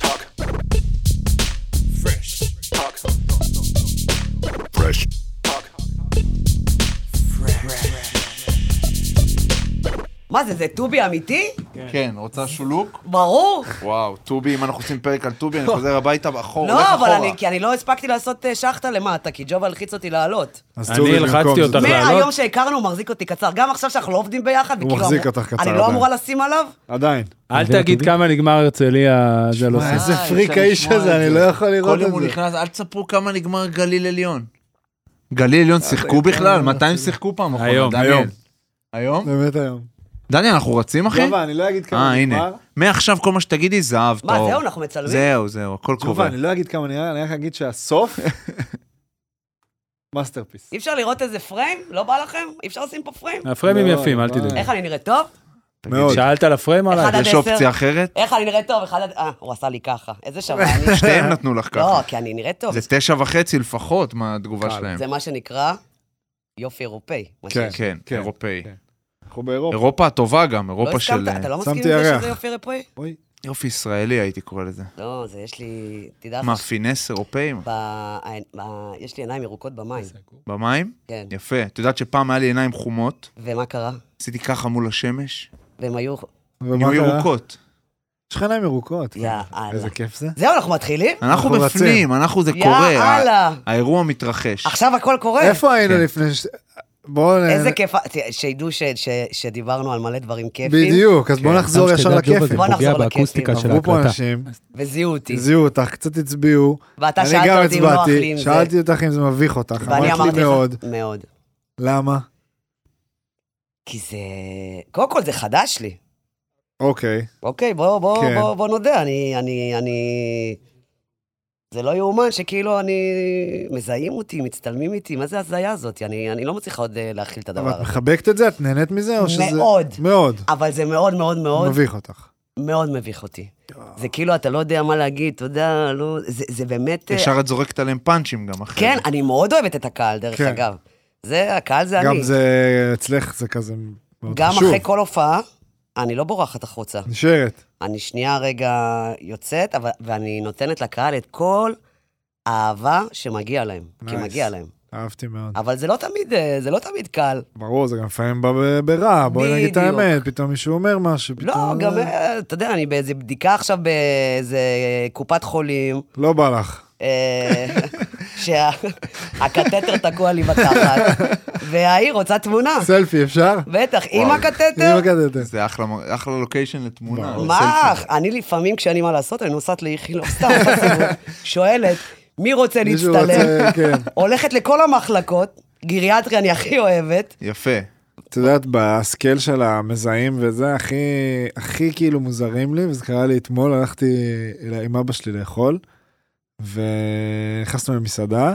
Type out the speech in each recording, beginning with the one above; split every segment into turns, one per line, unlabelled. talk. Fresh talk. Fresh talk.
מה זה, זה טובי אמיתי?
כן, רוצה שולוק?
ברור.
וואו, טובי, אם אנחנו עושים פרק על טובי, אני חוזר הביתה אחורה, הולך
לא, אבל
אחורה.
אני, כי אני לא הספקתי לעשות אה, שחטה למטה, כי ג'ובה הלחיץ אותי לעלות.
אז
אני
טובי
הלחצתי
במקום זה.
אותך. צריך
מהיום
לעלות?
שהכרנו, הוא מחזיק אותי קצר. גם עכשיו שאנחנו לא עובדים ביחד,
הוא
וכאילו
מחזיק
אמור-
אותך קצר אוקיי.
אני לא
עדיין.
אמורה לשים עליו?
עדיין.
אל
אתה
תגיד
יודע?
כמה נגמר הרצליה, זה לא
וואי,
סוף.
איזה
איזה פריק
אפשר
האיש
לשמוע את
הזה, אני
זה.
לא יכול לראות
כל יום
את
הוא
זה.
נכנס, אל תספרו כמה נגמר גליל עליון. גליל עליון שיחקו בכלל? מתי הם שיחקו פעם אחרונה?
היום,
דניאל?
היום.
היום?
באמת היום.
דניאל, אנחנו רצים, אחי?
ג'ובה, אני לא אגיד
אה,
כמה
הנה.
נגמר.
מעכשיו כל מה שתגידי זהב טוב.
מה, זהו, לא, אנחנו מצלמים?
זהו, זהו, הכל
ג'ובה,
קורה.
אני לא אגיד כמה נראה, אני רק אגיד שהסוף... מאסטרפיס.
אי אפשר לראות איזה פריים? לא בא לכם? אי אפשר לשים פה פריים?
הפריימים
לא,
יפים, אל
לא.
תדאג.
איך אני נראית טוב?
מאוד.
שאלת על הפריים עליי?
אחד עד
יש
עשר.
אופציה אחרת?
איך אני נראית טוב? אחד עד... אה, הוא עשה לי ככה. איזה שווה אני.
שתיהם נתנו לך
לא,
ככה.
כי אני נראית טוב.
זה תשע וחצי לפחות, מה התגובה שלהם.
זה מה שנקרא יופי אירופאי. מה
כן.
שיש.
כן,
כן.
אירופאי.
כן. אנחנו באירופה.
אירופה הטובה גם,
לא
אירופה של... אה,
הסכמת? אתה לא
שמתי
מסכים עם זה
ירח.
שזה יופי אירופאי?
אוי.
יופי ישראלי הייתי קורא לזה.
לא, זה יש לי... תדע לך
מה, פינס אירופאים?
ב- ב- יש לי עיניים ירוקות במים.
במים?
כן.
יפה. את יודעת שפעם היה לי עיניים חומות,
ומה קרה?
עשיתי ככה מול השמש,
והם היו...
ומה
נהיו
קרה?
ירוקות.
יש לך עיניים ירוקות.
יאללה.
איזה כיף זה.
זהו, אנחנו מתחילים?
אנחנו
אנחנו
בפנים, אנחנו זה קורה. ה-
יאללה.
האירוע מתרחש.
עכשיו הכל קורה.
איפה היינו
כן.
לפני ש... בואו... נ-
איזה כיף, ת- שידעו ש- ש- שדיברנו על מלא דברים כיפים.
בדיוק, אז
כן,
בואו נחזור ישר לכיפים.
בוא נחזור
פוגע באקוסטיקה
לכיפים.
של
עברו פה
ההקלטה.
אנשים,
וזיהו אותי.
זיהו אותך, קצת הצביעו.
ואתה
אני
שאלת
גם
אותי אם נוח לי עם
הצבעתי,
זה.
שאלתי אותך אם זה מביך אותך,
ואני
אמרת
אמרתי
לי מאוד.
לך... מאוד.
למה?
כי זה... קודם כל זה חדש לי.
אוקיי.
אוקיי, בוא, בוא,
כן.
בוא, בוא נודה, אני, אני, אני... זה לא יאומן שכאילו אני... מזהים אותי, מצטלמים איתי, מה זה הזיה הזאת? אני, אני לא מצליחה עוד אה, להכיל את הדבר
אבל את
הזה.
מחבקת את זה? את נהנית מזה? או שזה...
מאוד.
מאוד.
אבל זה מאוד מאוד מאוד
מביך אותך.
מאוד מביך אותי. זה כאילו, אתה לא יודע מה להגיד, תודה, לא... זה, זה באמת... אה,
ישר את זורקת עליהם פאנצ'ים גם אחרי.
כן,
זה.
אני מאוד אוהבת את הקהל, דרך
כן.
אגב. זה, הקהל זה
גם
אני.
זה אצלך זה כזה מאוד
גם
חשוב.
אחרי כל הופעה, אני לא בורחת החוצה.
נשארת.
אני שנייה רגע יוצאת, אבל, ואני נותנת לקהל את כל האהבה שמגיע להם. Nice. כי
Nice.
מגיע להם.
אהבתי מאוד.
אבל זה לא תמיד, אה, זה לא תמיד קל.
ברור, זה גם לפעמים בא ב- ברע, בואי נגיד את
בדיוק.
האמת, פתאום מישהו אומר משהו,
לא,
פתאום...
גם, אה, אתה יודע, אני באיזה בדיקה עכשיו באיזה קופת חולים,
לא בא לך.
שהקטטר תקוע לי בתחת, וההיא רוצה תמונה.
סלפי, אפשר?
בטח, עם
אם
הקטטר.
הקטטר.
זה אחלה מ- אחלה לוקיישן לתמונה.
מה?
לסלפי.
אני לפעמים, כשאין לי מה לעשות, אני נוסעת לאיכילוב, סתם, בסיבוב, שואלת, מי רוצה
מישהו
להצטלם?
רוצה- כן.
הולכת לכל המחלקות, גריאטריה אני הכי אוהבת,
יפה.
את יודעת, בסקייל של המזהים וזה, הכי, הכי כאילו מוזרים לי, וזה קרה לי אתמול, הלכתי אל- עם אבא שלי לאכול, ונכנסנו למסעדה,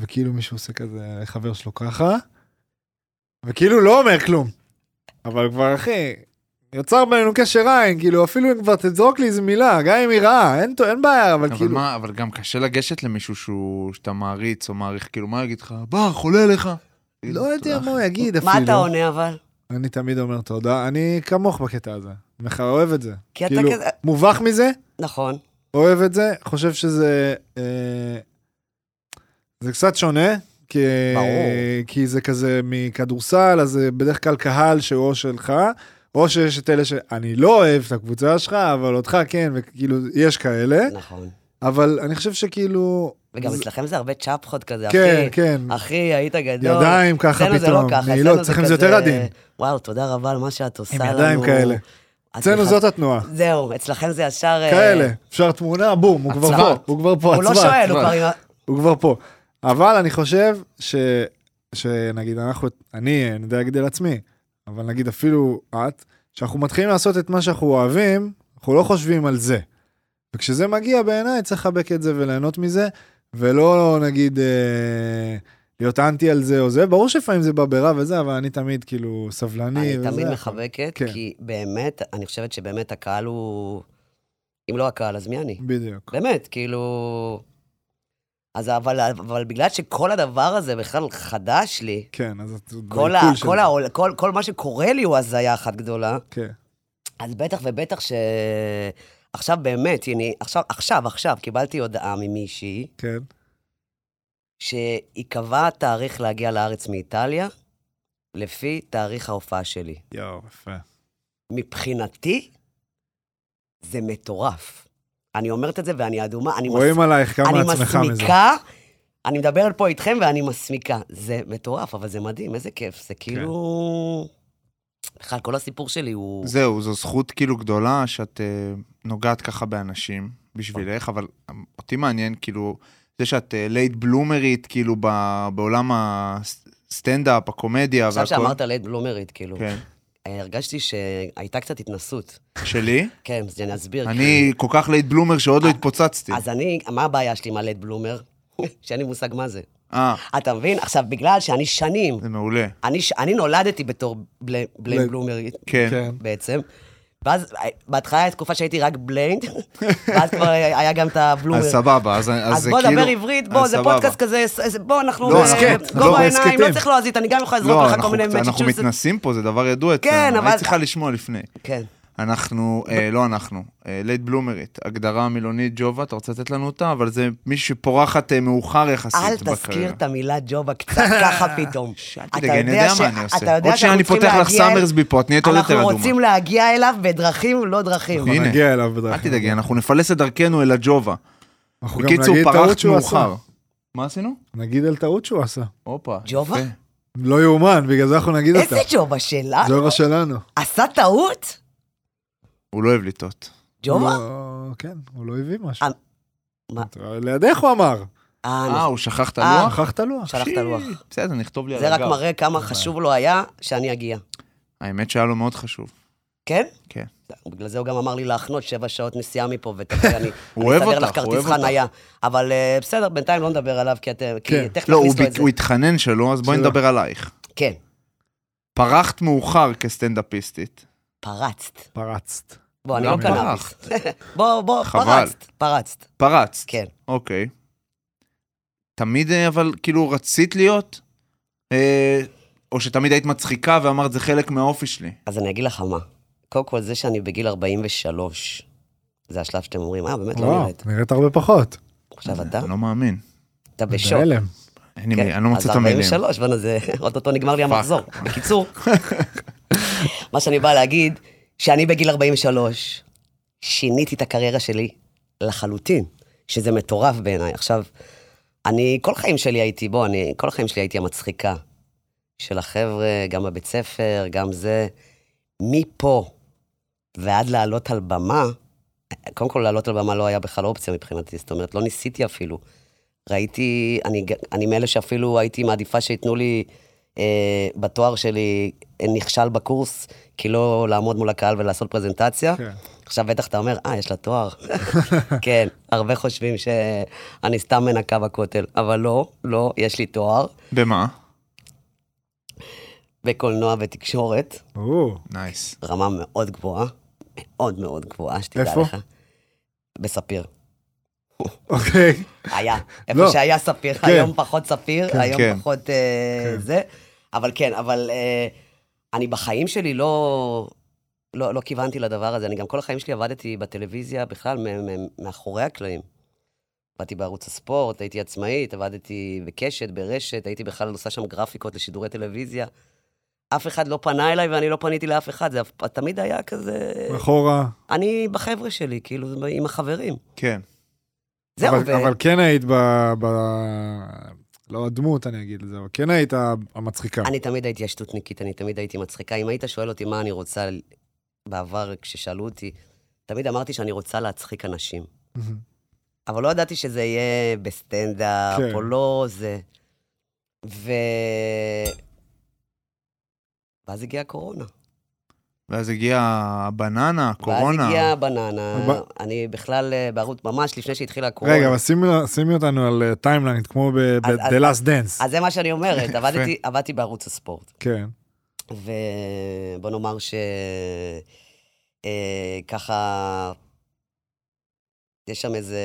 וכאילו מישהו עושה כזה לחבר שלו ככה, וכאילו לא אומר כלום. אבל כבר, אחי, יצר בינינו קשר עין, כאילו, אפילו אם כבר תזרוק לי איזה מילה, גם אם היא רעה, אין, אין בעיה, אבל,
אבל
כאילו...
מה, אבל גם קשה לגשת למישהו שהוא, שאתה מעריץ או מעריך, כאילו, מה יגיד לך? בר, חולה עליך.
לא יודע מה הוא יגיד אפילו.
מה אתה עונה אבל?
אני תמיד אומר תודה, אני כמוך בקטע הזה. אני בכלל אוהב את זה.
כי אתה
כאילו,
כזה-
מובך מזה,
נכון,
אוהב את זה, חושב שזה... אה, זה קצת שונה, כי,
ברור.
כי זה כזה מכדורסל, אז זה בדרך כלל קהל שהוא או שלך, או שיש את אלה שאני לא אוהב את הקבוצה שלך, אבל אותך כן, וכאילו, יש כאלה,
נכון.
אבל אני חושב שכאילו...
וגם
זה-
אצלכם זה הרבה צ'פחות כזה,
כן,
אחי.
כן.
אחי, היית גדול.
ידיים ככה
אצלנו זה לא
פתאום,
ככה, אצלנו
נעילות, אצלכם
כזה,
זה יותר עדין.
וואו, תודה רבה על מה שאת עושה
עם
לנו.
ידיים כאלה.
את
אצלנו
בכלל-
זאת התנועה.
זהו, אצלכם זה ישר... אה,
כאלה, אפשר תמונה, בום, הוא כבר
הצבעת.
פה, הוא כבר פה,
הוא לא
הצבעת. נכון.
שואל, הוא
הצבעת.
כבר... עם ה-
הוא כבר פה. אבל אני חושב ש... שנגיד אנחנו, אני, אני יודע להגיד על עצמי, אבל נגיד אפילו את, שאנחנו מתחילים לעשות את מה שאנחנו אוהבים, אנחנו לא חושבים על זה. וכשזה מגיע בעיניי צריך לחבק את זה וליהנות מזה, ולא נגיד אה, להיות אנטי על זה או זה, ברור שלפעמים זה בא ברע וזה, אבל אני תמיד כאילו סבלני.
אני
וזה.
תמיד מחבקת,
כן.
כי באמת, אני חושבת שבאמת הקהל הוא... אם לא הקהל, אז מי אני?
בדיוק.
באמת, כאילו... אז אבל, אבל בגלל שכל הדבר הזה בכלל חדש לי,
כן, אז את...
כל, ה,
בעיכול של
כל,
זה.
העול, כל, כל מה שקורה לי הוא הזיה אחת גדולה,
כן.
אז בטח ובטח ש... עכשיו באמת, הנה, עכשיו, עכשיו, עכשיו, קיבלתי הודעה ממישהי
כן.
שהיא קבעה תאריך להגיע לארץ מאיטליה, לפי תאריך ההופעה שלי.
יואו, יפה.
מבחינתי, זה מטורף. אני אומרת את זה ואני אדומה, אני,
רואים עלייך כמה
אני
עצמך מזה.
מסמיקה, אני מדברת פה איתכם ואני מסמיקה. זה מטורף, אבל זה מדהים, איזה כיף. זה כאילו... בכלל, כל הסיפור שלי הוא...
זהו, זו זכות כאילו גדולה שאת אה, נוגעת ככה באנשים בשבילך, אבל אה, אותי מעניין כאילו, זה שאת אה, לייט בלומרית כאילו ב- בעולם הסטנדאפ, הקומדיה והכל.
עכשיו שאמרת לייד בלומרית, כאילו,
כן.
הרגשתי שהייתה קצת התנסות.
שלי?
כן, אז אני אסביר.
אני כל כך לייט בלומר שעוד לא התפוצצתי.
כי- אה, אז אני, מה הבעיה שלי עם הלייד בלומר? שאין לי מושג מה זה.
אה,
אתה מבין? עכשיו, בגלל שאני שנים,
זה מעולה.
אני, ש- אני נולדתי בתור בלי- בליין בלומרית.
כן.
בעצם. ואז בהתחלה הייתה תקופה שהייתי רק בליינד, ואז כבר היה גם את הבלומר.
אז סבבה, אז אז
אז
זה
בוא
כאילו...
נדבר עברית, בוא,
אז
זה
סבבה.
פודקאסט כזה, ס- זה- בוא, אנחנו...
לא,
אה,
הסכת,
גובה
לא,
עיניים,
הסכתים.
לא צריך לועזית, אני גם יכולה
לא,
לזרוק לך כל
אנחנו-
מיני
אנחנו
מצ'צ'וסט.
מתנסים פה, זה דבר ידוע אצלנו.
כן, אבל-
היית צריכה לשמוע לפני.
כן.
אנחנו, אה, לא אנחנו, אה, לייט בלומרית, הגדרה מילונית ג'ובה, אתה רוצה לתת לנו אותה? אבל זה מישהי שפורחת אה, מאוחר יחסית
אל
בקריירה.
תזכיר את המילה ג'ובה קצת ככה פתאום. אתה
תדאג, אני יודע
ש-
מה אני עושה.
אתה יודע
עוד שנייה אני
שאנחנו
פותח
צריכים
לך
להגיע אל-
סאמרסבי פה, את נהיית עוד יותר
אנחנו
אדומה.
רוצים להגיע אליו בדרכים לא דרכים.
הנה.
נגיע אליו בדרך
אל תדאגי, אנחנו נפלס את דרכנו אל הג'ובה.
אנחנו גם
בקיצור,
נגיד טעות
פרחת
שהוא עשה.
מאוחר. מה עשינו?
נגיד על טעות שהוא עשה.
הופה. יפה.
ג'ובה?
לא יאומן, בגלל זה אנחנו נגיד אותה.
איזה ג'ובה שלה?
זוהר שלנו.
עשה טעות?
הוא לא אוהב לטעות.
ג'ובה?
לא- כן, הוא לא הביא משהו.
אה, מה?
אתה- לידך הוא אמר.
אה,
אה,
נכון.
הוא שכח את
אה,
הלוח?
שכח את הלוח.
שלח את הלוח.
שי, בסדר, נכתוב לי על
זה רק
הגב.
מראה כמה חשוב לו היה שאני אגיע.
האמת שהיה לו מאוד חשוב.
כן?
כן.
בגלל זה הוא גם אמר לי להחנות שבע שעות נסיעה מפה, ותכף אני
הוא
אני
אוהב
אסדר
אותך,
לך
הוא
כרטיס
אוהב אותך.
חנייה. אבל אה, בסדר, בינתיים לא נדבר עליו, כי אתם- כי
כן.
תכף
לא, הוא
נכניס לו את
ביט-
זה.
הוא התחנן שלא, אז בואי
שלא.
נדבר עלייך.
כן,
פרחת מאוחר כסטנדאפיסטית.
פרצת.
פרצת.
בוא, אני לא
למה
קנאביס.
פרחת?
בוא, בוא,
חבל.
פרצת, פרצת.
פרצת.
כן.
אוקיי. תמיד אה, אבל כאילו רצית להיות? אה, או שתמיד היית מצחיקה ואמרת זה חלק מהאופי שלי.
אז אני אגיד לך מה. קודם כל, זה שאני בגיל 43, זה השלב שאתם אומרים, אה, באמת לא
וואו,
נראית.
נראית הרבה פחות.
עכשיו אתה,
אני לא מאמין.
אתה בשוק.
בהלם.
אין לי
כן.
מילים, אני לא מוצא את
אז
המילים.
43, בוא'נה, זה אוטוטו נגמר לי המחזור. בקיצור, מה שאני בא להגיד, שאני בגיל 43, שיניתי את הקריירה שלי לחלוטין, שזה מטורף בעיניי. עכשיו, אני כל החיים שלי הייתי, בוא, אני כל החיים שלי הייתי המצחיקה של החבר'ה, גם בבית ספר, גם זה. מפה ועד לעלות על במה, קודם כל לעלות על במה לא היה בכלל אופציה מבחינתי, זאת אומרת, לא ניסיתי אפילו. ראיתי, אני, ג- אני מאלה שאפילו הייתי מעדיפה שייתנו לי אה, בתואר שלי אה, נכשל בקורס, כי לא לעמוד מול הקהל ולעשות פרזנטציה.
כן.
עכשיו בטח אתה אומר, אה, יש לה תואר. כן, הרבה חושבים שאני סתם מנקה בכותל, אבל לא, לא, יש לי תואר
במה?
בקולנוע ותקשורת,
או,
נייס.
רמה מאוד גבוהה, מאוד מאוד גבוהה, שתדע
איפה?
לך. בספיר.
אוקיי.
היה.
לא.
איפה שהיה ספיר,
כן.
היום פחות ספיר, היום
כן.
פחות אה, זה. אבל כן, אבל אה, אני בחיים שלי לא... לא, לא כיוונתי לדבר הזה, אני גם כל החיים שלי עבדתי בטלוויזיה בכלל מ- מ- מאחורי הקלעים. עבדתי בערוץ הספורט, הייתי עצמאית, עבדתי בקשת, ברשת, הייתי בכלל עושה שם גרפיקות לשידורי טלוויזיה. אף אחד לא פנה אליי ואני לא פניתי לאף אחד, זה אף- תמיד היה כזה...
נכון. מאחורה.
אני בחבר'ה שלי, כאילו, עם החברים.
כן.
זהו,
אבל-
ו-
אבל כן היית ב... ב- לא הדמות, אני אגיד את זה, אבל כן היית המצחיקה.
אני תמיד הייתי השטותניקית, אני תמיד הייתי מצחיקה. אם היית שואל אותי מה אני רוצה ל- בעבר, כששאלו אותי, תמיד אמרתי שאני רוצה להצחיק אנשים.
מהמם.
אבל לא ידעתי שזה יהיה בסטנדאפ,
כן.
או לא זה. ו... ואז הגיעה הקורונה.
ואז הגיעה הבננה, הקורונה.
ואז הגיעה הבננה.
הב-
אני בכלל אה, בערוץ, ממש לפני שהתחילה הקורונה.
רגע, אבל שימי- שימי אותנו על טיימליין, כמו
אז-
ב-The
אז-
Last Dance.
אז זה מה שאני אומרת, עבדתי, עבדתי בערוץ הספורט.
כן.
ובוא נאמר שככה, יש שם איזה...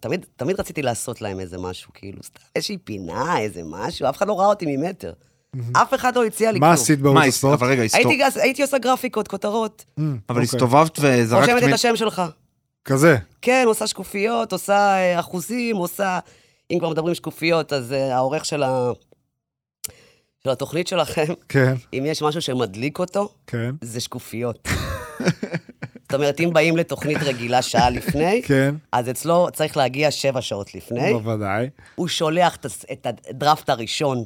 תמיד, תמיד רציתי לעשות להם איזה משהו, כאילו, סתם איזושהי פינה, איזה משהו, אף אחד לא ראה אותי ממטר. אף אחד לא הציע לי
מה
כלום.
עשית
מה,
בערוץ
הס-
הספורט?
אבל רגע, הסתו-
הייתי, גס- הייתי עושה גרפיקות, כותרות,
אמ,
אבל
אוקיי.
הסתובבת וזרקת...
רושמת
מ-
את השם שלך.
כזה.
כן, עושה שקופיות, עושה אה, אחוזים, עושה... אם כבר מדברים שקופיות, אז אה, העורך של, ה... של התוכנית שלכם,
כן,
אם יש משהו שמדליק אותו,
כן,
זה שקופיות. זאת אומרת, אם באים לתוכנית רגילה שעה לפני,
כן.
אז אצלו צריך להגיע שבע שעות לפני,
בוודאי.
הוא שולח את הס- את הדראפט הראשון.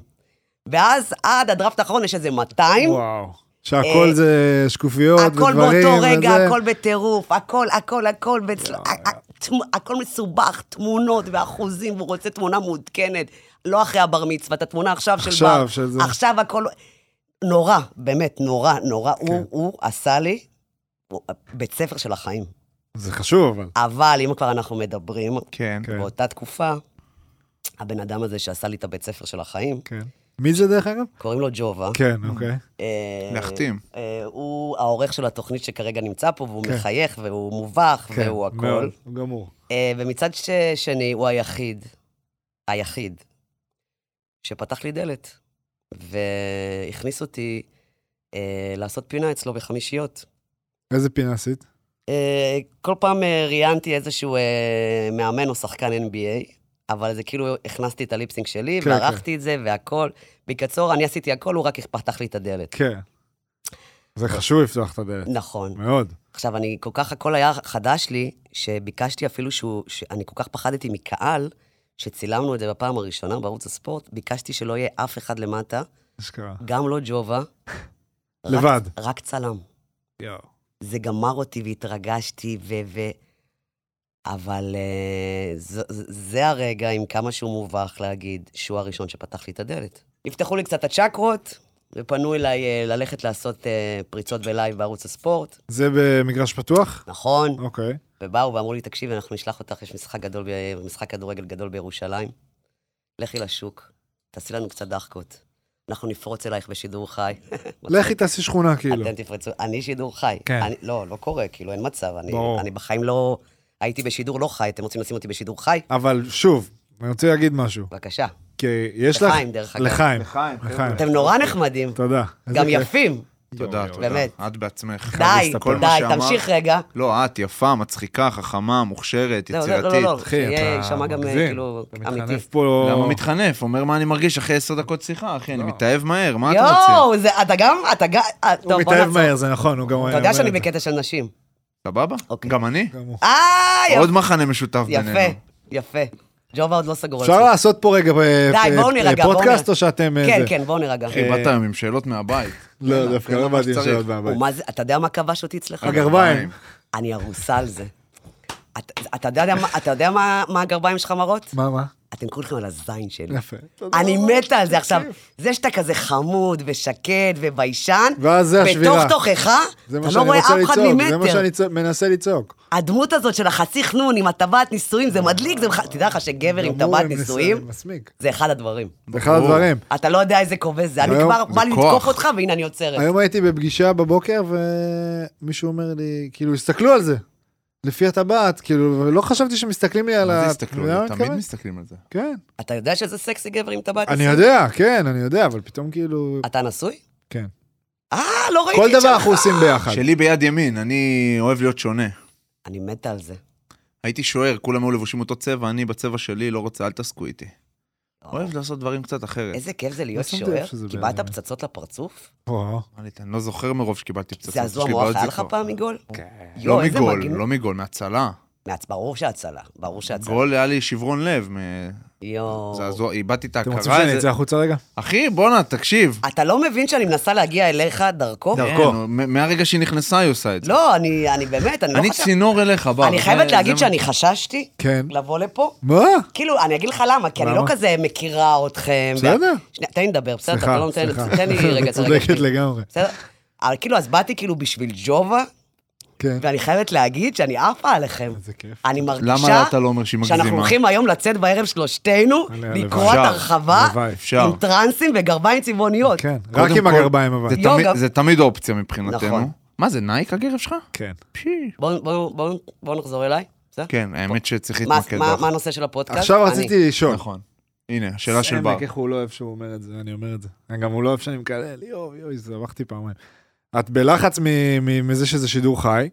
ואז עד הדראפט האחרון יש איזה 200,
וואו. שהכל
אה,
זה שקופיות
הכל
ודברים.
באותו רגע,
וזה.
הכל בטירוף, הכל, הכל, הכל, בצל- ה- ה- תמ- הכל מסובך, תמונות ואחוזים, הוא רוצה תמונה מעודכנת, לא אחרי הבר מצווה, את התמונה עכשיו של
עכשיו,
בר.
של זה.
עכשיו הכל... נורא, באמת, נורא, נורא.
כן.
הוא, הוא עשה לי הוא- בית ספר של החיים.
זה חשוב, אבל.
אבל אם כבר אנחנו מדברים,
כן.
כן.
באותה תקופה, הבן אדם הזה שעשה לי את הבית ספר של החיים,
כן. מי זה דרך אגב?
קוראים לו ג'ובה.
כן, אוקיי.
אה,
להחתים.
אה, הוא העורך של התוכנית שכרגע נמצא פה, והוא
כן.
מחייך, והוא מובך,
כן,
והוא
מאוד,
הכל.
הוא גמור.
אה, ומצד ש- שני, הוא היחיד, היחיד, שפתח לי דלת, והכניס אותי אה, לעשות פינה אצלו בחמישיות.
איזה פינה עשית?
אה, כל פעם אה, ראיינתי איזשהו אה, מאמן או שחקן NBA, אבל זה כאילו הכנסתי את הליפסינג שלי,
כן,
וערכתי את זה והכל. בקצור, אני עשיתי הכל, הוא רק פתח לי את הדלת.
כן. זה חשוב לפתוח את הדלת.
נכון.
מאוד.
עכשיו, אני כל כך, הכל היה חדש לי, שביקשתי אפילו שהוא, שאני כל כך פחדתי מקהל, שצילמנו את זה בפעם הראשונה בערוץ הספורט, ביקשתי שלא יהיה אף אחד למטה,
אשכרה.
גם לא ג'ובה. רק-
לבד.
רק צלם.
יואו.
זה גמר אותי והתרגשתי, ו... ו... אבל uh, זה, זה הרגע, עם כמה שהוא מובך, להגיד שהוא הראשון שפתח לי את הדלת. נפתחו לי קצת הצ'קרות, ופנו אליי uh, ללכת לעשות uh, פריצות בלייב בערוץ הספורט,
זה במגרש פתוח?
נכון?
אוקיי.
ובאו ואמרו לי, תקשיב, אנחנו נשלח אותך, יש משחק גדול, ב- משחק כדורגל גדול בירושלים. לכי לשוק, תעשי לנו קצת דחקות. אנחנו נפרוץ אלייך בשידור חי.
לכי תעשי שכונה, כאילו.
אתם תפרצו, אני שידור חי.
כן.
אני, לא, לא קורה, כאילו, אין מצב. אני,
ברור.
אני בחיים לא... הייתי בשידור לא חי, אתם רוצים לשים אותי בשידור חי?
אבל שוב, אני רוצה להגיד משהו.
בבקשה.
כי יש לך...
לחיים, דרך אגב.
לחיים.
לחיים, חבר'ה.
לחיים.
אתם נורא נחמדים,
תודה.
גם
איזה כיף.
יפים.
תודה, תודה.
באמת.
את בעצמך.
די,
כל מה
די,
שאמרת-
תמשיך רגע.
לא, את יפה, מצחיקה, חכמה, מוכשרת,
לא, לא, לא, לא,
יצירתית.
אחי,
שיהיה
אתה
יישמע גם, אה,
מגזים.
כאילו,
אתה
אמיתי.
מתחנף פה...
למה מתחנף? אומר מה אני מרגיש אחרי עשר דקות שיחה, אחי, אני מתאהב מהר, מה אתה רוצה?
לא. יואו, זה- אתה גם, אתה גם, אה, טוב,
הוא
בוא
מתאהב
נעצור.
מהר, זה נכון, הוא גם...
אתה יודע
אומר
שאני
את זה.
בקטע של נשים.
סבבה?
אוקיי.
גם אני?
גם הוא.
אה, יפה.
עוד מחנה משותף בינינו.
יפה, יפה. ג'ובה עוד לא סגור על
אפשר
זה.
לעשות פה רגע אה,
די, בואו
אה, אה,
נירגע, בואו נירגע.
פודקאסט או שאתם... אה,
כן,
זה?
כן, בואו נירגע.
אחי, באת היום עם שאלות מהבית.
לא, דווקא לא באתי עם שאלות מהבית.
ומה זה, אתה יודע מה כבש אותי אצלך?
הגרביים.
אני הרוסה על זה. אתה- אתה יודע מה- אתה יודע מה מה הגרביים שלך מראות?
מה, מה?
אתם כולכם על הזין שלי.
יפה.
אני מתה על זה עכשיו. זה שאתה כזה חמוד ושקט וביישן,
ואז זה השבירה.
בתוך תוכך,
זה
אתה
מה
לא
שאני
רואה
רוצה
אף אחד
לצעוק, זה מה
ממטר.
שאני צ- מנסה לצעוק.
הדמות הזאת של החצי חנון עם הטבעת נישואים, זה מדליק, זה מח- תדע לך שגבר עם
גמור,
טבעת
הם
נישואים,
ניס- מסמיק.
זה אחד הדברים.
זה אחד הדברים.
אתה לא יודע איזה כובש זה, אני
היום-
כבר
זה
בא לי
כוח.
לתקוף אותך, והנה אני עוצרת.
היום הייתי בפגישה בבוקר, ומישהו אומר לי, כאילו, הסתכלו על זה. לפי הטבעת, כאילו, ולא חשבתי שמסתכלים לי על ה...
מה זה
אתה
הסתכלו?
יודע מה
על
אה, לא, אני
זה? תמיד
מתכוון?
מסתכלים על זה.
כן.
אתה יודע שזה סקסי גבר עם טבעת
אני
נישואים?
יודע, כן, אני יודע, אבל פתאום כאילו...
אתה נשוי?
כן.
אה, לא ראיתי
כל
את
דבר
שלך.
אנחנו עושים ביחד.
שלי ביד ימין, אני אוהב להיות שונה.
אני מתה על זה.
הייתי שוער, כולם היו לבושים אותו צבע, אני בצבע שלי, לא רוצה, אל תעסקו איתי. אוהב לעשות דברים קצת אחרת.
לא. איזה כיף זה להיות
שמתי לב
שוער,
שזה
קיבלת
בעיה.
פצצות לפרצוף?
וואו.
אמרתי, אני לא זוכר מרוב שקיבלתי פצצות.
זעזוע
יש לי בעיות
מוח, היה לך
זיכרון.
פעם מגול?
לא
יואו, איזה
מגול,
מגניב.
לא מגול, מהצלה.
מעצ- ברור שהצלה, ברור שהצלה.
גול היה לי שברון לב, מ-
יואו.
זעזוע, איבדתי את
אתם
ההכרה.
רוצים שאני
זה-
אצא החוצה רגע?
אחי, בואנה, תקשיב.
אתה לא מבין שאני מנסה להגיע אליך דרכו?
כן, נו, מ- מהרגע שהיא נכנסה היא עושה את זה.
לא, אני אני באמת, אני לא
אני
חשבתי.
צינור אליך, בר.
אני
זה-
חייבת
זה
להגיד
מה-
שאני חששתי
כן.
לבוא לפה.
מה?
כאילו, אני אגיד לך למה, כי אני לא
למה?
כזה מכירה אתכם.
בסדר.
שנייה, תן לי לדבר, בסדר? אתה
סליחה,
לא נותן לי,
סליחה.
תן לי רגע,
את
זה רגע.
צודקת לגמרי.
בסדר? אבל כאילו, אז באתי כאילו בשביל ג'ובה,
כן.
ואני חייבת להגיד שאני עפה עליכם.
איזה כיף.
אני מרגישה...
למה אתה לא אומר שהיא מגזימה?
שאנחנו הולכים היום לצאת בערב שלושתנו,
הלוואי.
לקרוא את
אפשר,
הרחבה,
הלוואי.
אה, אפשר.
עם טרנסים וגרביים צבעוניות.
כן.
קודם
רק עם
כל,
הגרביים אבל.
זה
יוגה.
תמיד- זה תמיד אופציה מבחינתנו.
נכון.
מה זה, נייק הגרב שלך?
כן.
פשי.
בואו בוא, בוא, בוא נחזור אליי, בסדר?
כן, האמת שצריך
מה,
להתמקד
מה,
בך.
מה הנושא של הפודקאסט?
עכשיו
אני.
רציתי לשאול.
נכון. הנה, השאלה של בר.
עמק, איך הוא לא אוהב שהוא אומר את זה, אני אומר את זה. גם הוא לא אוהב שאני מקלל, יואו, יואו, הסתבכתי פעמיים. את בלחץ מ- מ- מזה שזה שידור חי,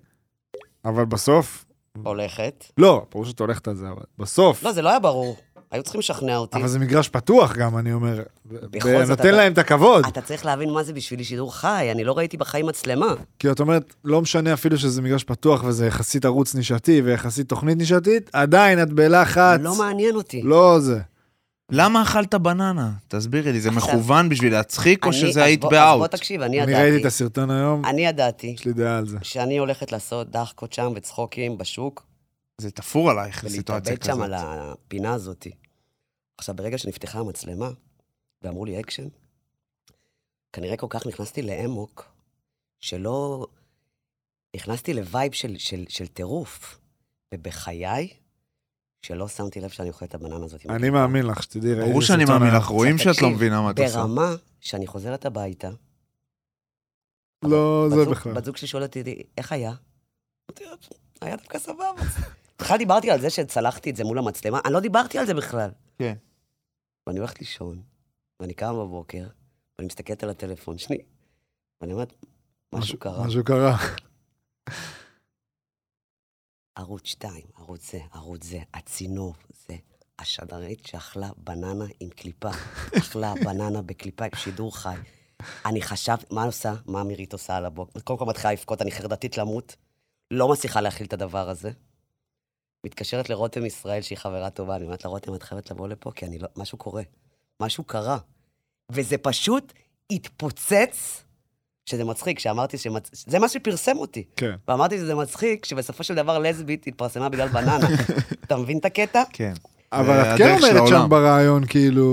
אבל בסוף
הולכת.
לא, ברור שאת הולכת על זה, אבל בסוף.
לא, זה לא היה ברור. היו צריכים לשכנע אותי.
אבל זה מגרש פתוח גם, אני אומר.
בכל
ב-
זאת,
נותן
אתה-
להם את הכבוד.
אתה צריך להבין מה זה בשבילי שידור חי, אני לא ראיתי בחיים מצלמה.
כי את אומרת, לא משנה אפילו שזה מגרש פתוח וזה יחסית ערוץ נישתי ויחסית תוכנית נישתית, עדיין את בלחץ.
לא מעניין אותי.
לא זה.
למה אכלת בננה? תסבירי לי, זה
עכשיו-
מכוון בשביל להצחיק או
אני-
שזה
אז
היית
בוא- אז בוא
באאוט?
תקשיב, אני
אני ראיתי את
ידעתי.
הסרטון היום,
אני ידעתי
יש לי דעה על זה.
שאני הולכת לעשות דחקות שם וצחוקים בשוק,
זה תפור עלייך, סיטואציה
ולהתאבד שם
כזאת.
על הפינה הזאת. עכשיו, ברגע שנפתחה המצלמה, ואמרו לי אקשן, כנראה כל כך נכנסתי לאמוק, שלא... נכנסתי לווייב של, של, של טירוף, ובחיי, שלא שמתי לב שאני אוכלת את הבננה הזאת.
אני מאמין לך, שתדעי, ראיתי
ברור
את
שאני
הסרטון
מאמין
היום.
לך, רואים שאת לא
תקשיב,
מבינה מה את עושה.
ברמה שאני חוזרת הביתה,
לא, זה
בזוג-
בכלל.
בת זוג שלי שואלת אותי, איך היה? אמרתי לה, היה דווקא סבבה. בכלל דיברתי על זה שצלחתי את זה מול המצלמה, אני לא דיברתי על זה בכלל.
כן.
ואני הולכת לישון, ואני קם בבוקר, ואני מסתכלת על הטלפון שלי, ואני אומרת, משהו קרה,
משהו קרה.
אה,
ערוץ 2, ערוץ זה, ערוץ זה, הצינור זה. השדרית שאכלה בננה עם קליפה, אכלה בננה בקליפה עם שידור חי. אני חשבתי, מה עושה? מה מירית עושה על הבוקר? קודם כל מתחילה לבכות, אני חרדתית למות. לא מצליחה להכיל את הדבר הזה. מתקשרת לרותם ישראל, שהיא חברה טובה, אני אומרת לה, רותם, את חייבת לבוא לפה, כי אני לא... משהו קורה. משהו קרה. וזה פשוט התפוצץ, שזה מצחיק, שאמרתי שמצ... זה מה שפרסם אותי.
כן.
ואמרתי שזה מצחיק, שבסופו של דבר לסבית התפרסמה בגלל בננה. אתה מבין את הקטע?
כן.
אבל
זה
את כן
הדרך של
אומרת
העולם.
שם ברעיון, כאילו,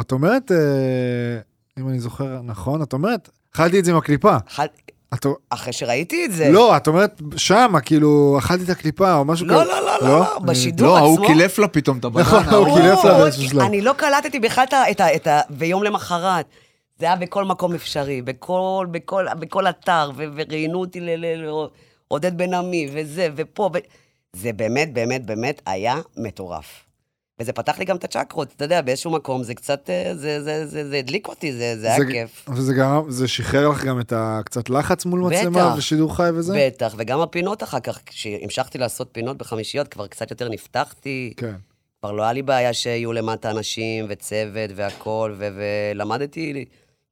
את אומרת, אה, אם אני זוכר נכון, את אומרת, אכלתי את זה עם הקליפה.
אכל-
את א-
אחרי שראיתי את זה.
לא, את אומרת שמה, כאילו, אכלתי את הקליפה או משהו
לא,
כזה.
לא, לא, לא, לא, בשידור
לא,
עצמו.
ההוא קילף לה פתאום את
נכון,
הבננה.
ההוא
ההוא-
קילף. לה
ברור,
באיזשהו שלב.
אני לא קלטתי בכלל את ה- את ה... את ה... ויום למחרת. זה היה בכל מקום אפשרי, בכל, בכל, בכל אתר, ו- וראיינו אותי לעודד בן עמי, וזה, ופה, ו... זה באמת, באמת, באמת היה מטורף. וזה פתח לי גם את הצ'קרות, אתה יודע, באיזשהו מקום, זה קצת, אה, זה, זה, זה, זה הדליק אותי, זה, זה היה כיף.
וזה גרם, זה שחרר לך גם את הקצת לחץ מול
בטח.
מצלמה ושידור חי וזה?
בטח, וגם הפינות אחר כך, כשהמשכתי לעשות פינות בחמישיות, כבר קצת יותר נפתחתי.
כן.
כבר לא היה לי בעיה שיהיו למטה אנשים וצוות והכול, ו- ולמדתי,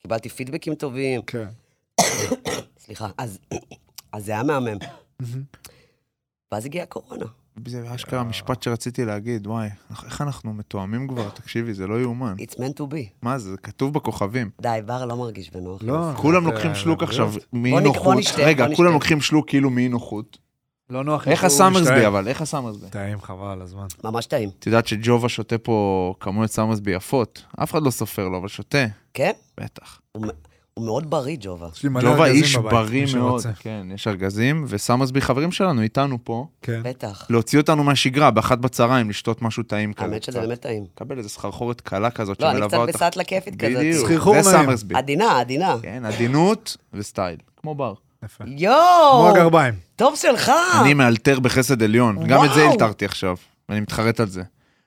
קיבלתי פידבקים טובים.
כן.
סליחה, אז, אז זה היה מהמם. ואז הגיעה הקורונה.
זה אשכרה משפט שרציתי להגיד, וואי, אנחנו- איך אנחנו מתואמים כבר? תקשיבי, זה לא יאומן.
It's meant to be.
מה זה, זה כתוב בכוכבים.
די, בר לא מרגיש בנוח.
לא.
כולם
זה-
לוקחים
זה
שלוק
בריאות.
עכשיו מאי
בוא נ- בוא
נוחות.
נשתה, בוא
רגע,
נשתה.
כולם לוקחים שלוק כאילו מאי נוחות.
לא נוח.
איך הסאמרסבי אבל? איך הסאמרסבי?
טעים, חבל על הזמן.
ממש טעים.
את יודעת שג'ובה שותה פה כמויות סאמרסבי יפות? אף אחד לא סופר לו, אבל שותה.
כן?
בטח.
הוא, מ- הוא מאוד בריא, ג'ובה.
יש לי מלא
ג'ובה
ארגזים
איש
בבית,
בריא
מי
מאוד.
שרוצה.
כן, יש ארגזים, וסאמרסבי חברים שלנו איתנו פה.
כן.
בטח.
להוציא אותנו מהשגרה באחת בצהריים, לשתות משהו טעים כזה.
האמת שזה
כן, קצת.
באמת טעים.
קבל איזה סחרחורת קלה כזאת
לא, אני
שמלווה
קצת
אותך.
בסטלה כיפית כזאת.
בדיוק,
סחרחור
זה
נעים.
סאמרסבי.
עדינה, עדינה.
כן, עדינות וסטייל, כמו בר.
יפה. כמו
יואו!
הגרביים.
טוב שלך!
אני לא מאלתר בחסד עליון, גם את זה
וואו.
אלתרתי עכשיו, ואני מתחרט על זה.